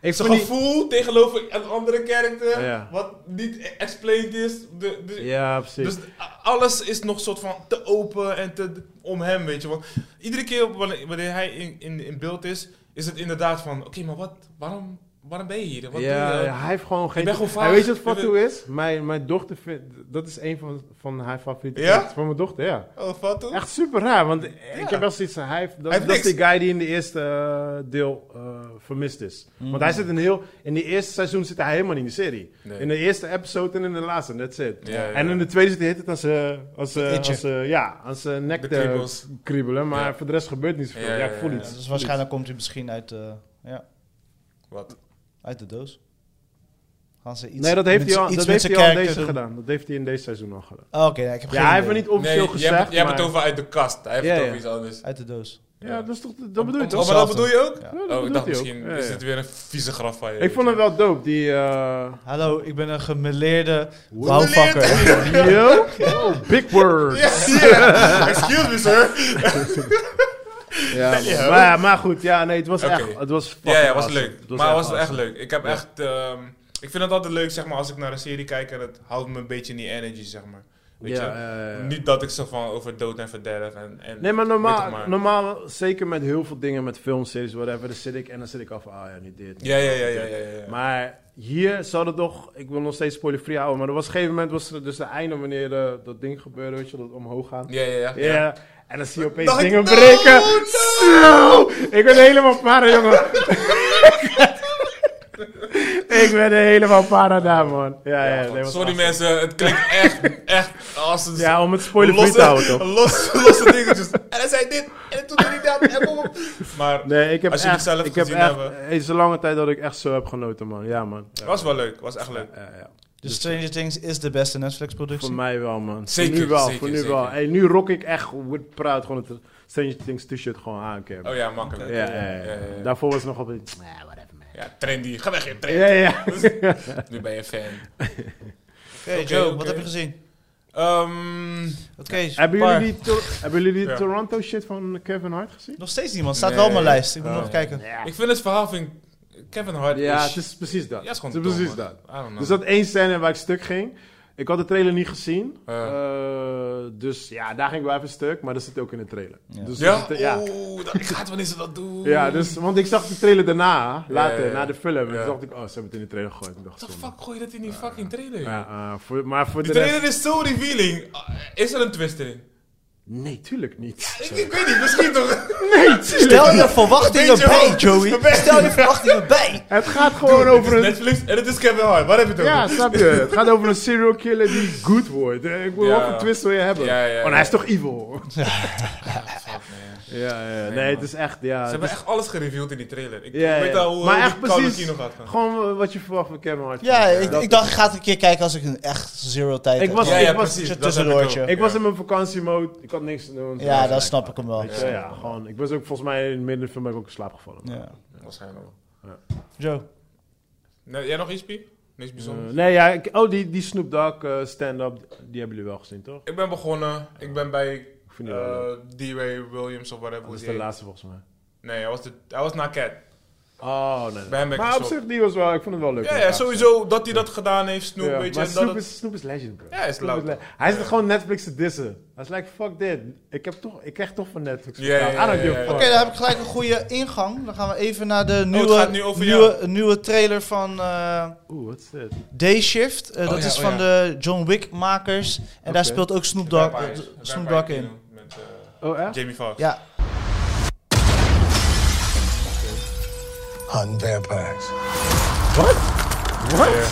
A: Ik
C: zijn
A: vond die-
C: gevoel tegenover een andere karakter,
A: Ja.
C: wat niet e- explained is. De, de-
A: ja, precies.
C: Dus a- alles is nog soort van te open en te om hem, weet je. Want iedere keer wanneer, wanneer hij in, in, in beeld is, is het inderdaad van, oké, maar wat, waarom, waarom ben je hier? Wat doe
A: ja,
C: je?
A: ja, hij heeft gewoon geen...
C: bent gewoon
A: Hij
C: vaag.
A: weet je wat
C: Je bent-
A: Fatou is? Mijn, mijn dochter vindt... Dat is een van, van haar favoriete
C: Ja?
A: Van mijn dochter, ja.
C: Oh, wat toen?
A: Echt super raar, want ik heb wel zoiets van, hij heeft, dat,
C: Hij heeft
A: dat is
C: niks.
A: die guy die in de eerste eh, deel eh, vermist is. Want hij zit in heel, in de eerste seizoen zit hij helemaal niet in de serie.
C: Mm. Nee.
A: In de eerste episode en in de laatste, that's it.
C: Ja, ja,
A: En in
C: ja.
A: de tweede zit hij het als, eh als, eh,
B: Itje.
A: als, eh, ja, als eh, nek
C: De
A: te
C: kriebels.
A: kriebelen, maar
C: Ja.
A: voor de rest gebeurt niet zoveel.
C: Ja,
A: Ja,
C: ja,
A: ik voel
C: ja, ja.
A: iets.
B: Ja, dus waarschijnlijk komt hij misschien uit, eh, ja,
C: Wat?
B: uit de doos. Gaan ze iets
A: Nee, dat heeft
B: met
A: hij al,
B: z'n-
A: dat
B: iets met
A: heeft
B: zijn
A: hij al in
B: character
A: deze
B: doen.
A: gedaan. Dat heeft hij in deze seizoen al gedaan.
B: Oh, Oké, nee, ik heb geen
A: Ja, hij heeft
B: idee.
A: het niet officieel
C: je hebt,
A: gezegd,
C: je hebt
A: maar-
C: het over uit de kast. Hij heeft
A: Ja,
C: het over
A: ja.
C: iets anders.
B: Uit de doos.
A: Ja, dat, is toch, dat bedoel je
C: Om-
A: toch?
C: Oh, maar dat bedoel je ook?
A: Ja,
B: Ja.
A: dat
C: Oh, ik
A: bedoelt
C: dacht
A: hij ook.
C: misschien
A: Ja,
C: is
A: ja.
C: dit weer een vieze graf van je.
A: Ik vond hem wel dope, die... eh,
B: Hallo, ik ben een gemeleerde
A: Hoe-
B: bouwvakker. [LAUGHS]
A: Yo, oh, [LAUGHS] big word. Ja,
C: Excuse me, sir.
A: man. maar, maar goed, ja, nee, het was
C: Oké.
A: echt, het was fucking
C: Ja, ja, was
A: awesome.
C: leuk. maar het was echt
A: awesome.
C: leuk. Ik heb
A: Ja.
C: echt... ehm, ik vind het altijd leuk, zeg maar, als ik naar een serie kijk en het houdt me een beetje in die energy, zeg maar. Weet
A: Ja,
C: je?
A: ja, ja, ja.
C: Niet dat ik zo van over dood en verderf en... en
A: Nee, maar
C: weet
A: normaal,
C: je maar.
A: normaal, zeker met heel veel dingen, met filmseries, whatever, dan zit ik en dan zit ik af van, ah ja, niet dit.
C: Ja, ja, ja, ja, ja. ja, ja.
A: Maar hier zou het toch, ik wil nog steeds spoiler-free houden, maar er was een gegeven moment, was er dus de einde wanneer eh, dat ding gebeurde, weet je, dat omhoog gaan.
C: ja, ja, ja.
A: Ja. En dan zie je opeens
C: Dacht ik,
A: dingen
C: no,
A: breken.
C: no.
A: Zo! Ik ben helemaal para, jongen. [LAUGHS] ik ben helemaal para daar, man. Ja, ja,
C: Ja,
A: nee,
C: man.
A: was
C: Sorry
A: awesome.
C: mensen, het
A: [LAUGHS]
C: klinkt echt, echt als een
A: Ja, om het spoiler free te houden,
C: losse,
A: toch? [LAUGHS]
C: losse, losse dingetjes. En hij zei dit, en toen deed hij dat, en kom op. Maar
A: Nee, ik heb
C: Als jullie
A: echt,
C: het zelf
A: ik heb
C: gezien
A: echt,
C: hebben.
A: het is een lange tijd dat ik echt zo heb genoten, man. Ja, man. Ja,
C: het was wel leuk, was echt leuk.
A: ja, ja.
B: Dus Stranger Things is de beste
A: Voor
B: Netflix-productie.
A: mij wel, man.
C: Zeker,
A: voor nu wel,
C: zeker,
A: voor nu
C: zeker.
A: wel. Hey, nu rock ik echt, word proud, gewoon het Stranger Things t-shirt gewoon aan, Cam.
C: Oh ja, makkelijk.
A: ja, ja, ja,
C: ja, ja.
A: Daarvoor was het nog op het...
C: Ja, trendy. Ga weg, je trendy.
A: Ja, ja.
C: Nu ben je fan.
B: Oké,
C: Oké,
B: Joe,
C: oké.
B: wat heb je gezien?
C: Ehm,
B: Oké,
A: Hebben
B: paar.
A: jullie die, Tor- hebben jullie die
C: [LAUGHS] Ja.
A: Toronto shit van Kevin Hart gezien?
B: Nog steeds niemand. Staat
C: Nee.
B: wel op mijn lijst. Ik moet
C: Oh.
B: nog kijken.
A: Ja,
C: ik vind het verhaal van Kevin Hart.
A: ja
C: is-
A: het is precies dat.
C: ja, is gewoon
A: het is
C: dom,
A: precies
C: man.
A: dat.
C: I don't know.
A: Dus dat één scène waar ik stuk ging. Ik had de trailer niet gezien.
C: Ja.
A: Eh, dus ja, daar ging ik wel even stuk. Maar dat zit ook in de trailer. Dus
C: ja?
A: dat is- ja.
C: Oeh, dat, ik haat wanneer ze dat doen.
A: Ja, dus, want ik zag de trailer daarna, later,
C: ja, ja.
A: na de film. En
C: Ja.
A: toen dacht ik, oh, ze hebben het in de trailer gegooid. Ik dacht,
C: What the
A: zonde.
C: fuck gooi je dat in die fucking trailer?
A: Ja, eh, voor, maar voor
C: Die
A: de rest...
C: trailer is zo revealing. Ah, Is er een twist in?
A: Nee, tuurlijk
C: [LAUGHS]
A: niet.
C: Ik, ik weet niet,
A: [LAUGHS]
C: misschien toch.
A: Nee, tuurlijk.
B: Stel je verwachtingen
C: Beetje
B: bij,
C: hoog.
B: Joey. Stel je verwachtingen bij.
A: Het gaat gewoon
C: Het is
A: over een...
C: Netflix en het is Kevin Hart. Waar heb je het
A: Ja,
C: over?
A: snap je? Het gaat over een serial killer die good wordt. Eh, Ik wil
C: Ja.
A: wel een twist wil je hebben.
C: Ja, ja, ja.
A: Want hij is toch evil?
C: Fuck, man.
A: Ja, ja. Nee,
C: man.
A: het is echt... Ja,
C: Ze
A: het
C: hebben
A: is-
C: echt alles gereveeld in die trailer. Ik
A: ja,
C: weet
A: ja.
C: al hoe
A: Maar
C: hoe
A: echt
C: die koude
A: precies
C: kino gaat gaan.
A: gewoon eh, wat je verwacht van Kevin Hart.
B: Ja, ik,
A: Dat-
B: ik dacht, ik ga het een keer kijken als ik een echt zero tijd
A: Ik
B: heb.
A: was-
B: Ja,
C: ja,
B: ja,
C: ja,
A: ik was-
C: precies.
B: een
C: dat heb ik
B: tussendoortje.
C: ook,
A: Ik
C: ja.
A: was in mijn vakantiemode. Ik had niks te doen.
B: dat snap ik hem wel.
A: Weet je, ja, gewoon. Ik was ook volgens mij in het midden van de film ben ik ook in slaap gevallen.
B: Ja.
C: Waarschijnlijk wel.
B: Joe.
C: Nee, jij nog iets, Pie? Niks bijzonders.
A: Eh, nee, ja. ik- oh, die, die Snoop Dogg eh, stand-up, die hebben jullie wel gezien, toch?
C: Ik ben begonnen. Ik ben bij
A: Ik vind die wel leuk.
C: eh D-Ray Williams of whatever.
A: Dat
C: hoe
A: is
C: die
A: de
C: heet.
A: laatste volgens mij.
C: Nee, hij was, de, hij was na Cat.
A: Oh, nee.
C: Bij hem ben ik
A: maar op
C: gestopt.
A: zich, die was wel... Ik vond het wel leuk.
C: Ja, ja, sowieso dat hij dat gedaan heeft, Snoop,
A: Ja,
C: weet je.
A: maar
C: en
A: Snoop,
C: dat het-
A: is, Snoop is legend, bro.
C: Ja, hij is
A: Snoop
C: loud.
A: le- Hij is
C: Ja.
A: gewoon Netflix te dissen. Hij is like, fuck dit. Ik, heb toch, ik krijg toch van Netflix
C: Ja,
A: betaald.
C: ja, ja,
A: I don't give
C: ja,
A: a
C: ja.
A: fuck.
B: Oké, dan heb ik gelijk een goede ingang. Dan gaan we even naar de
C: het
B: nieuwe,
C: gaat nu over
B: nieuwe, nieuwe trailer van eh,
A: Oeh, wat is dit?
B: Day Shift. Eh,
C: Oh
B: dat
C: ja,
B: is
C: oh
B: van
C: ja.
B: de John Wick makers. En
A: Oké.
B: daar speelt ook Snoop Dogg,
C: Vampires.
B: eh, Snoop
C: Vampire
B: Dogg in.
C: Kino Met eh,
A: Oh, echt?
C: Jamie Foxx.
B: Ja.
D: hunting vampires.
A: What? What?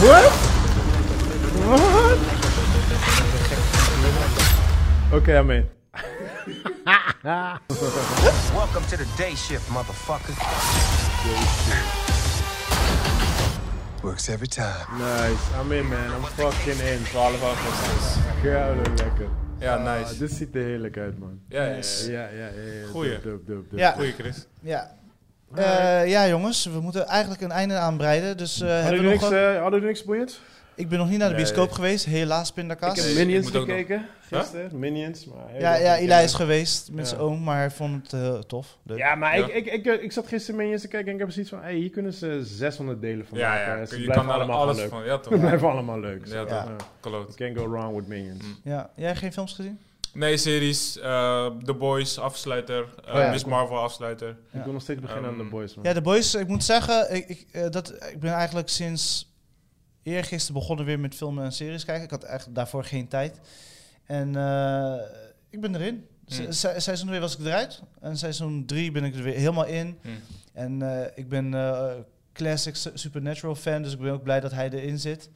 A: What? What? Oké, okay, I'm in.
D: Welcome to the day shift, motherfucker. Works every time.
A: Nice, I'm in man. I'm fucking in.
C: 12 augustus.
A: Koude lekker.
C: Ja, nice.
A: Ah, dit ziet er heerlijk uit, man.
C: Ja, ja, ja.
A: Ja, ja, ja. ja.
C: Goeie.
A: Dope, dope, dope, dope.
B: Ja.
C: Goeie, Chris.
B: Ja. Eh, ja, jongens, we moeten eigenlijk een einde aanbreiden. Dus eh, hebben
A: Hadden
B: we
A: jullie
B: nog
A: niks,
B: wat?
A: eh, hadden jullie niks boeiends?
B: Ik ben nog niet naar de
C: Nee.
B: bioscoop geweest, helaas, pindakaas.
A: Ik heb
C: Nee,
A: Minions
C: ik moet ook
A: gekeken
C: Huh?
A: gisteren. Minions, maar... heel
B: Ja,
A: leuk
B: ja,
A: gekeken.
B: Eli is geweest met
A: Ja.
B: zijn oom, maar hij vond het eh, tof. Leuk.
A: Ja, maar
C: Ja.
A: Ik, ik, ik, ik zat gisteren Minions te kijken en ik heb zoiets van... Hey, hier kunnen ze 600 delen van
C: Ja,
A: maken.
C: ja.
A: Ze
C: Je
A: blijven
C: kan er
A: allemaal
C: alles
A: leuk. [LAUGHS]
C: van. Ja, toch.
A: Ze blijven allemaal leuk.
C: Ja, Mm.
B: Ja.
C: toch. Kloot.
A: Can't go wrong with Minions.
B: Ja. Jij geen films gezien?
C: Nee, series. eh, The Boys, afsluiter. eh,
B: Oh ja.
C: Miss Marvel, afsluiter.
A: Ik wil nog steeds beginnen aan
C: Ehm,
A: de boys, man.
B: Ja, The Boys, ik moet zeggen, ik, ik, eh, dat, ik ben eigenlijk sinds eergisteren begonnen weer met filmen en series kijken. Ik had echt daarvoor geen tijd. En eh, ik ben erin. Se-
C: Hmm.
B: se- Seizoen 2 was ik eruit. En seizoen 3 ben ik er weer helemaal in.
C: Hmm.
B: En eh, ik ben eh, classic Su- Supernatural fan, dus ik ben ook blij dat hij erin zit.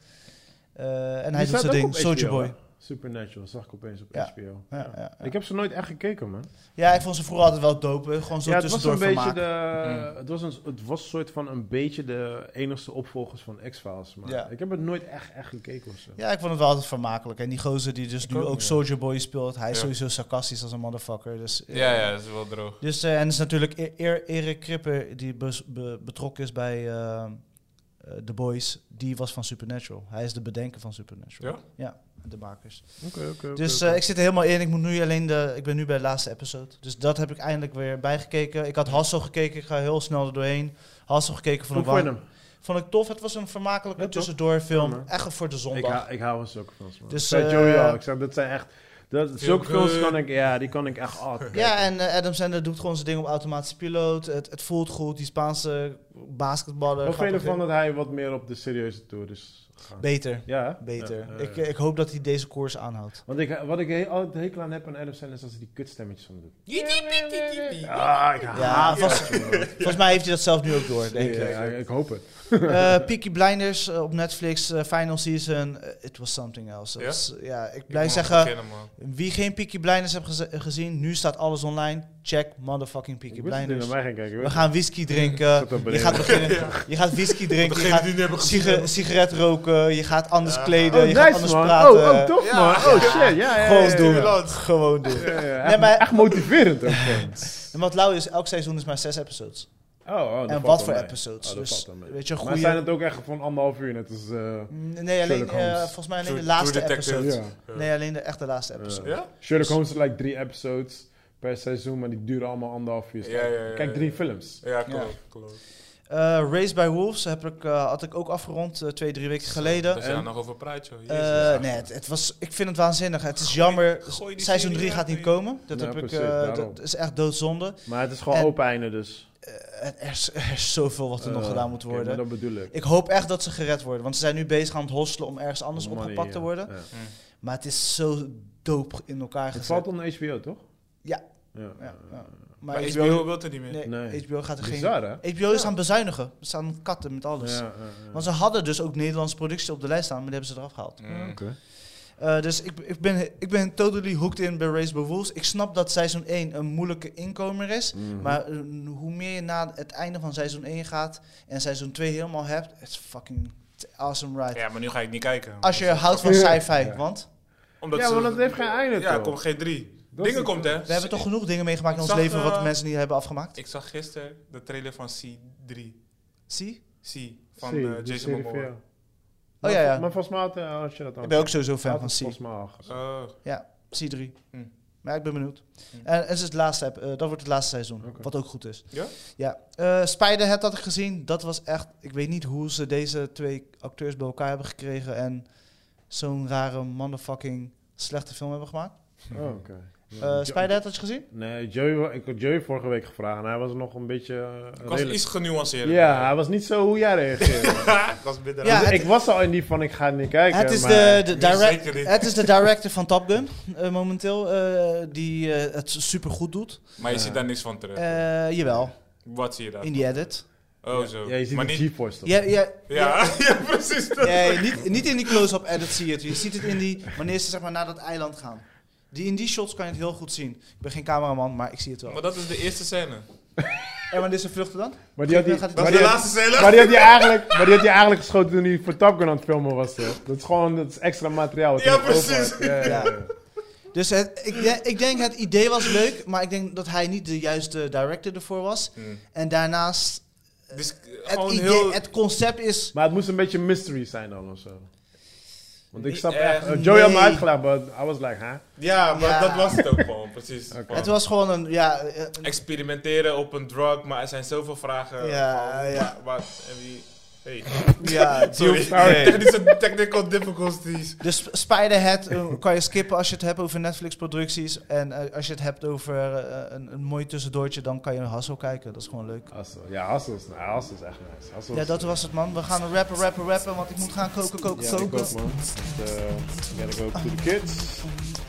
B: Eh, en hij
A: Die
B: doet
A: staat
B: zijn
A: ook
B: ding,
A: op
B: Soulja
A: HBO,
B: Boy.
A: hè? Supernatural, zag ik opeens op
B: Ja.
A: HBO.
B: Ja, ja, ja.
A: Ik heb ze nooit echt gekeken, man.
B: Ja, ik vond ze vroeger altijd wel dope. Gewoon zo
A: ja, het was
B: tussendoor
A: een
B: van
A: beetje
B: maken.
A: de...
C: Mm.
A: Het was een het was een soort van een beetje de enigste opvolgers van X-Files. Maar
B: Ja.
A: ik heb het nooit echt, echt gekeken of zo.
B: Ja, ik vond het wel altijd vermakelijk. En die gozer die dus nu
C: ook,
B: ook
C: ja.
B: Soldier Boy speelt, hij is
C: Ja.
B: sowieso sarcastisch als een motherfucker. Dus, eh,
C: Ja, ja, dat is wel droog.
B: Dus, eh, en is natuurlijk E- E- Erik Kripper, die bes- be- betrokken is bij eh, eh, The Boys, die was van Supernatural. Hij is de bedenker van Supernatural.
C: Ja?
B: De makers.
A: Oké, oké, oké,
B: Dus
A: oké.
B: eh, ik zit er helemaal in. Ik, moet nu alleen de, ik ben nu bij de laatste episode. Dus dat heb ik eindelijk weer bijgekeken. Ik had Hassel gekeken. Ik ga heel snel er doorheen. Hassel gekeken van
A: Hoe
B: de
A: vond je hem?
B: Vond ik tof. Het was een vermakelijke
A: Ja, toch?
B: tussendoorfilm.
A: Ja, man.
B: Echt voor de zondag.
A: Ik, hou- ik hou van zulke films, man.
B: Dus,
A: Dus, zei
B: eh,
A: Joey al, ik zei, dat zijn echt... Dat, zulke
C: good.
A: films kan ik, ja, die kan ik echt oh, altijd
B: Ja, en eh, Adam Sandler doet gewoon zijn ding op automatische piloot. Het, het voelt goed. Die Spaanse basketballer.
A: Ik
B: gaat
A: vind
B: toch
A: ervan
B: weer-
A: dat hij wat meer op de serieuze tour is gegaan.
B: Beter.
A: ja, hè?
B: Beter.
A: Ja, ja,
B: ik, eh,
A: ja.
B: ik hoop dat hij deze koers aanhoudt.
A: Want ik, wat ik he- altijd hekel aan heb aan Adam Sandler is als hij die kutstemmetjes van doet.
C: Ja,
A: Ah, ik
B: Ja,
A: haat
B: vast- volgens mij heeft hij dat zelf nu ook door, denk ik.
A: Ja, ik hoop het.
B: Eh, Peaky Blinders eh, op Netflix, eh, final season. Eh, it was something else.
C: Ja?
B: Dus, ja, ik
C: moet
B: blijf
C: nog
B: zeggen,
C: beginnen, man.
B: wie geen Peaky Blinders heeft geze- gezien, nu staat alles online. Check motherfucking Peaky
A: Ik wist dat hij
B: Blinders.
A: naar mij ging kijken.
B: dus- We
A: hoor.
B: gaan whisky drinken.
A: dat
B: Je
A: beneden.
B: gaat, beginnen,
A: [LAUGHS]
B: je gaat whisky drinken. Je
C: Degene
B: gaat
C: die het hebben gezien
B: siga-
C: hebben.
B: sigaret roken. Je gaat anders kleden.
A: Oh,
B: je gaat
A: nice
B: anders
A: man.
B: praten.
A: Oh, oh, tof
C: Ja.
A: man. Oh shit, ja, ja.
B: Gewoon
A: ja,
B: doen.
A: Ja, ja. [LAUGHS]
B: Gewoon doen.
A: Ja, ja,
B: Nee,
A: Echt,
B: maar-
A: echt motiverend ook. gewoon.
B: En wat lauw is, elk seizoen is maar zes episodes.
A: Oh, oh, dat valt
B: en wat
A: wel
B: voor
A: mee.
B: episodes.
A: Oh, dat
B: dus
A: valt wel mee.
B: weet je,
A: Maar
B: goede...
A: zijn het ook echt van anderhalf uur net als... eh,
B: Nee, alleen,
A: Sherlock
B: eh,
A: Holmes.
B: volgens mij alleen
C: True-
B: de laatste
C: True Detective.
B: episode.
A: ja.
B: Nee, alleen de echte laatste episode.
C: Ja?
A: Sherlock Holmes had like drie episodes per seizoen, maar die duren allemaal anderhalf uur.
C: Ja, ja, ja,
A: Kijk,
C: ja.
A: drie films.
C: Ja, klopt. klopt.
B: Eh, Eh Race by Wolves heb ik, eh, had ik ook afgerond eh, twee, drie weken geleden.
C: Dat je daar Dus nog over praat, joh. Jezus.
B: Eh, nee, het, het was, ik vind het waanzinnig. Het is jammer.
C: gooi die
B: Seizoen
C: serie
B: 3
C: uit,
B: gaat niet
C: joh.
B: komen. Dat,
A: Ja,
B: heb ik,
A: precies,
B: eh,
A: daarom.
B: dat is echt doodzonde.
A: Maar het is gewoon
B: En-
A: open einde dus.
B: Eh, er, is, [LAUGHS] er is zoveel wat er nog
A: Eh,
B: gedaan moet
A: oké,
B: worden.
A: maar dat bedoel ik.
B: Ik hoop echt dat ze gered worden. Want ze zijn nu bezig aan het hosselen om ergens anders
A: Money,
B: opgepakt te
A: ja.
B: worden.
A: Ja.
C: Mm.
B: Maar het is zo doop in elkaar
A: Het
B: gezet.
A: valt onder HBO, toch?
B: Ja.
A: ja.
B: Ja, ja.
C: Maar
B: Maar
C: HBO,
B: HBO,
C: wil het er niet meer.
B: nee,
A: Nee.
B: HBO gaat er
A: Bizar, hè?
B: geen... HBO is aan het bezuinigen. Ze staan aan het katten met alles.
A: Ja, ja, ja.
B: Want ze hadden dus ook Nederlandse productie op de lijst staan, maar die hebben ze eraf gehaald.
C: Mm.
A: Oké.
B: Eh, dus ik, ik, ben, ik ben totally hooked in bij Race by Wolves. Ik snap dat seizoen 1 een moeilijke inkomer is.
C: Mhm.
B: Maar eh, hoe meer je na het einde van seizoen 1 gaat en seizoen 2 helemaal hebt, het is fucking awesome ride.
C: Ja, maar nu ga ik niet kijken.
B: Als je houdt van sci-fi, want
C: Omdat
A: Ja,
C: ze-
A: want het heeft geen einde,
C: Ja,
A: toch?
C: er komt geen drie.
A: Dat
C: Dingen
A: is-
C: komt, hè?
B: we hebben toch genoeg dingen meegemaakt in
C: Ik
B: ons
C: zag,
B: leven wat
C: eh,
B: mensen niet hebben afgemaakt.
C: Ik zag gisteren de trailer van C3.
B: Zie?
C: C van
A: Zie,
C: eh,
A: die
C: Jason
A: serie voor
C: Momoa.
A: jou.
B: Oh
A: Maar
B: ja,
A: vol-
B: ja.
A: Maar volgens mij had, eh, als je dat al
B: Ik ben ook sowieso
A: had
B: fan van
A: het
B: C.
A: Volgens mij al gezegd.
C: Oh,
B: Ja, C3.
C: Hm.
B: Maar ik ben benieuwd.
C: Hm.
B: En, en het is het laatste, ep- eh, dat wordt het laatste seizoen,
A: Oké.
B: wat ook goed is.
C: Ja?
B: Ja. Eh, Spiderhead had ik gezien. Dat was echt... Ik weet niet hoe ze deze twee acteurs bij elkaar hebben gekregen... en zo'n rare motherfucking slechte film hebben gemaakt.
A: Oh, oké.
B: Eh
A: Ja. Jo-
B: Spiderhead had je gezien?
A: Nee, Joey, wa- ik had Joey vorige week gevraagd en hij was nog een beetje... eh,
C: ik was
A: redelijk-
C: iets genuanceerd.
A: Ja, hij was niet zo hoe jij
B: [LAUGHS]
A: reageerde.
C: ik was bitter.
B: Ja,
A: Dus
B: het-
A: ik was al in die van ik ga het niet kijken.
B: Het is
A: maar
B: de, de,
C: Nee,
B: direct-
C: zeker niet.
B: het is de director van Top Gun eh, momenteel, eh, die eh, het supergoed doet.
C: Maar je ziet daar niks van terug.
B: Eh, jawel,
C: Wat zie je daar?
B: in die edit.
C: Oh, zo.
A: Ja, je ziet
C: maar
A: die
C: niet...
A: GeForce toch?
B: Ja, ja,
C: Ja, [LAUGHS] ja, precies. dat.
B: Nee, niet, niet in die close-up edit zie je het. Je ziet het in die, wanneer ze zeg maar naar dat eiland gaan. Die, in die shots kan je het heel goed zien. Ik ben geen cameraman, maar ik zie het wel.
C: Maar dat is de eerste scène.
B: En wanneer ze vluchten dan?
A: Maar die had die,
B: Dat is
A: maar
C: Dat
A: die
C: is de
A: had-
C: laatste scène.
A: maar die had die eigenlijk, maar die had die eigenlijk geschoten toen hij voor Top Gun aan het filmen was. Toch? Dat is gewoon dat is extra materiaal. wat
C: Ja,
A: hij nog over
C: precies.
A: had. Ja, ja, ja.
B: Dus het, ik, de- ik denk het idee was leuk, maar ik denk dat hij niet de juiste director ervoor was.
C: Hmm.
B: En daarnaast,
C: Dus eh,
B: het,
C: gewoon
B: idee,
C: heel...
B: het concept is...
A: Maar het moest een beetje mystery zijn dan of zo. Want ik
C: Niet
A: snap
C: echt.
A: echt. eh, Joey had me
B: Nee.
A: uitgelegd, maar I was like, huh?
C: Ja, maar
B: Ja.
C: dat was het ook
B: [LAUGHS]
C: gewoon, precies. Van
B: Het was gewoon een, ja... eh,
C: Experimenteren op een drug, maar er zijn zoveel vragen.
B: Ja,
C: van,
B: ja.
C: Wat en wie... Hey.
B: ja
C: [LAUGHS] Sorry,
A: sorry.
C: technische technical difficulties.
B: dus Spiderhead eh, kan je skippen als je het hebt over Netflix-producties. En eh, als je het hebt over eh, een, een mooi tussendoortje, dan kan je een Hassel kijken. Dat is gewoon leuk.
A: Hassel. Ja, Hassel is, nou, Hassel is echt nice. Hassel
B: Ja,
A: is-
B: dat was het man. We gaan rappen, rappen, rappen, want ik moet gaan koken, koken,
A: Ja, ik
B: koken.
A: ook, man. Dus, eh, gotta go to the kids.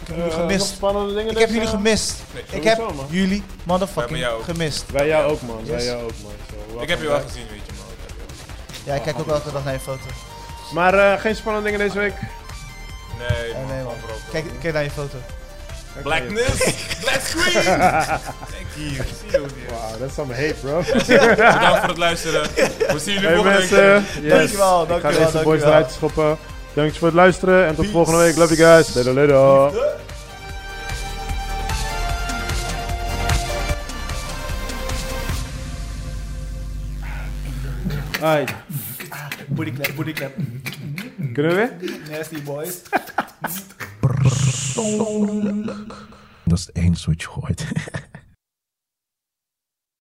A: Ik
B: jullie gemist.
A: Nog spannende dingen
B: Ik heb
A: deze-
B: jullie gemist.
C: Nee,
B: Ik
A: sowieso,
B: heb
A: man.
B: jullie
C: Wij hebben jou
B: motherfucking
C: ook.
B: gemist.
A: Bij jou ook, man. Bij
B: Yes.
A: jou ook, man. Zo,
C: Ik heb je
A: welkom
C: wel
A: back.
C: gezien, weet je man.
B: Ja, ik kijk ook elke dag naar je foto.
A: Maar eh, geen spannende dingen deze week.
C: Nee,
B: Ja, nee man.
C: man. bro, bro.
B: Kijk, kijk naar je foto.
C: Blackness,
B: [LAUGHS]
C: black screen. Thank you. See you, dear.
A: Wow, Ah, dat is some hate, bro.
C: Bedankt voor het luisteren. We zien jullie
A: hey
C: volgende
A: mensen.
C: week.
A: Yes.
B: Dankjewel,
A: Ik ga
B: dankjewel,
A: deze boys
B: dankjewel.
A: eruit schoppen. Dankjewel voor het luisteren en tot volgende week. Love you guys. Later, later. Hi.
B: Booty clap, booty clap.
A: Kunnen we weer?
B: Nasty boys.
E: Dat is het enige wat je gooit.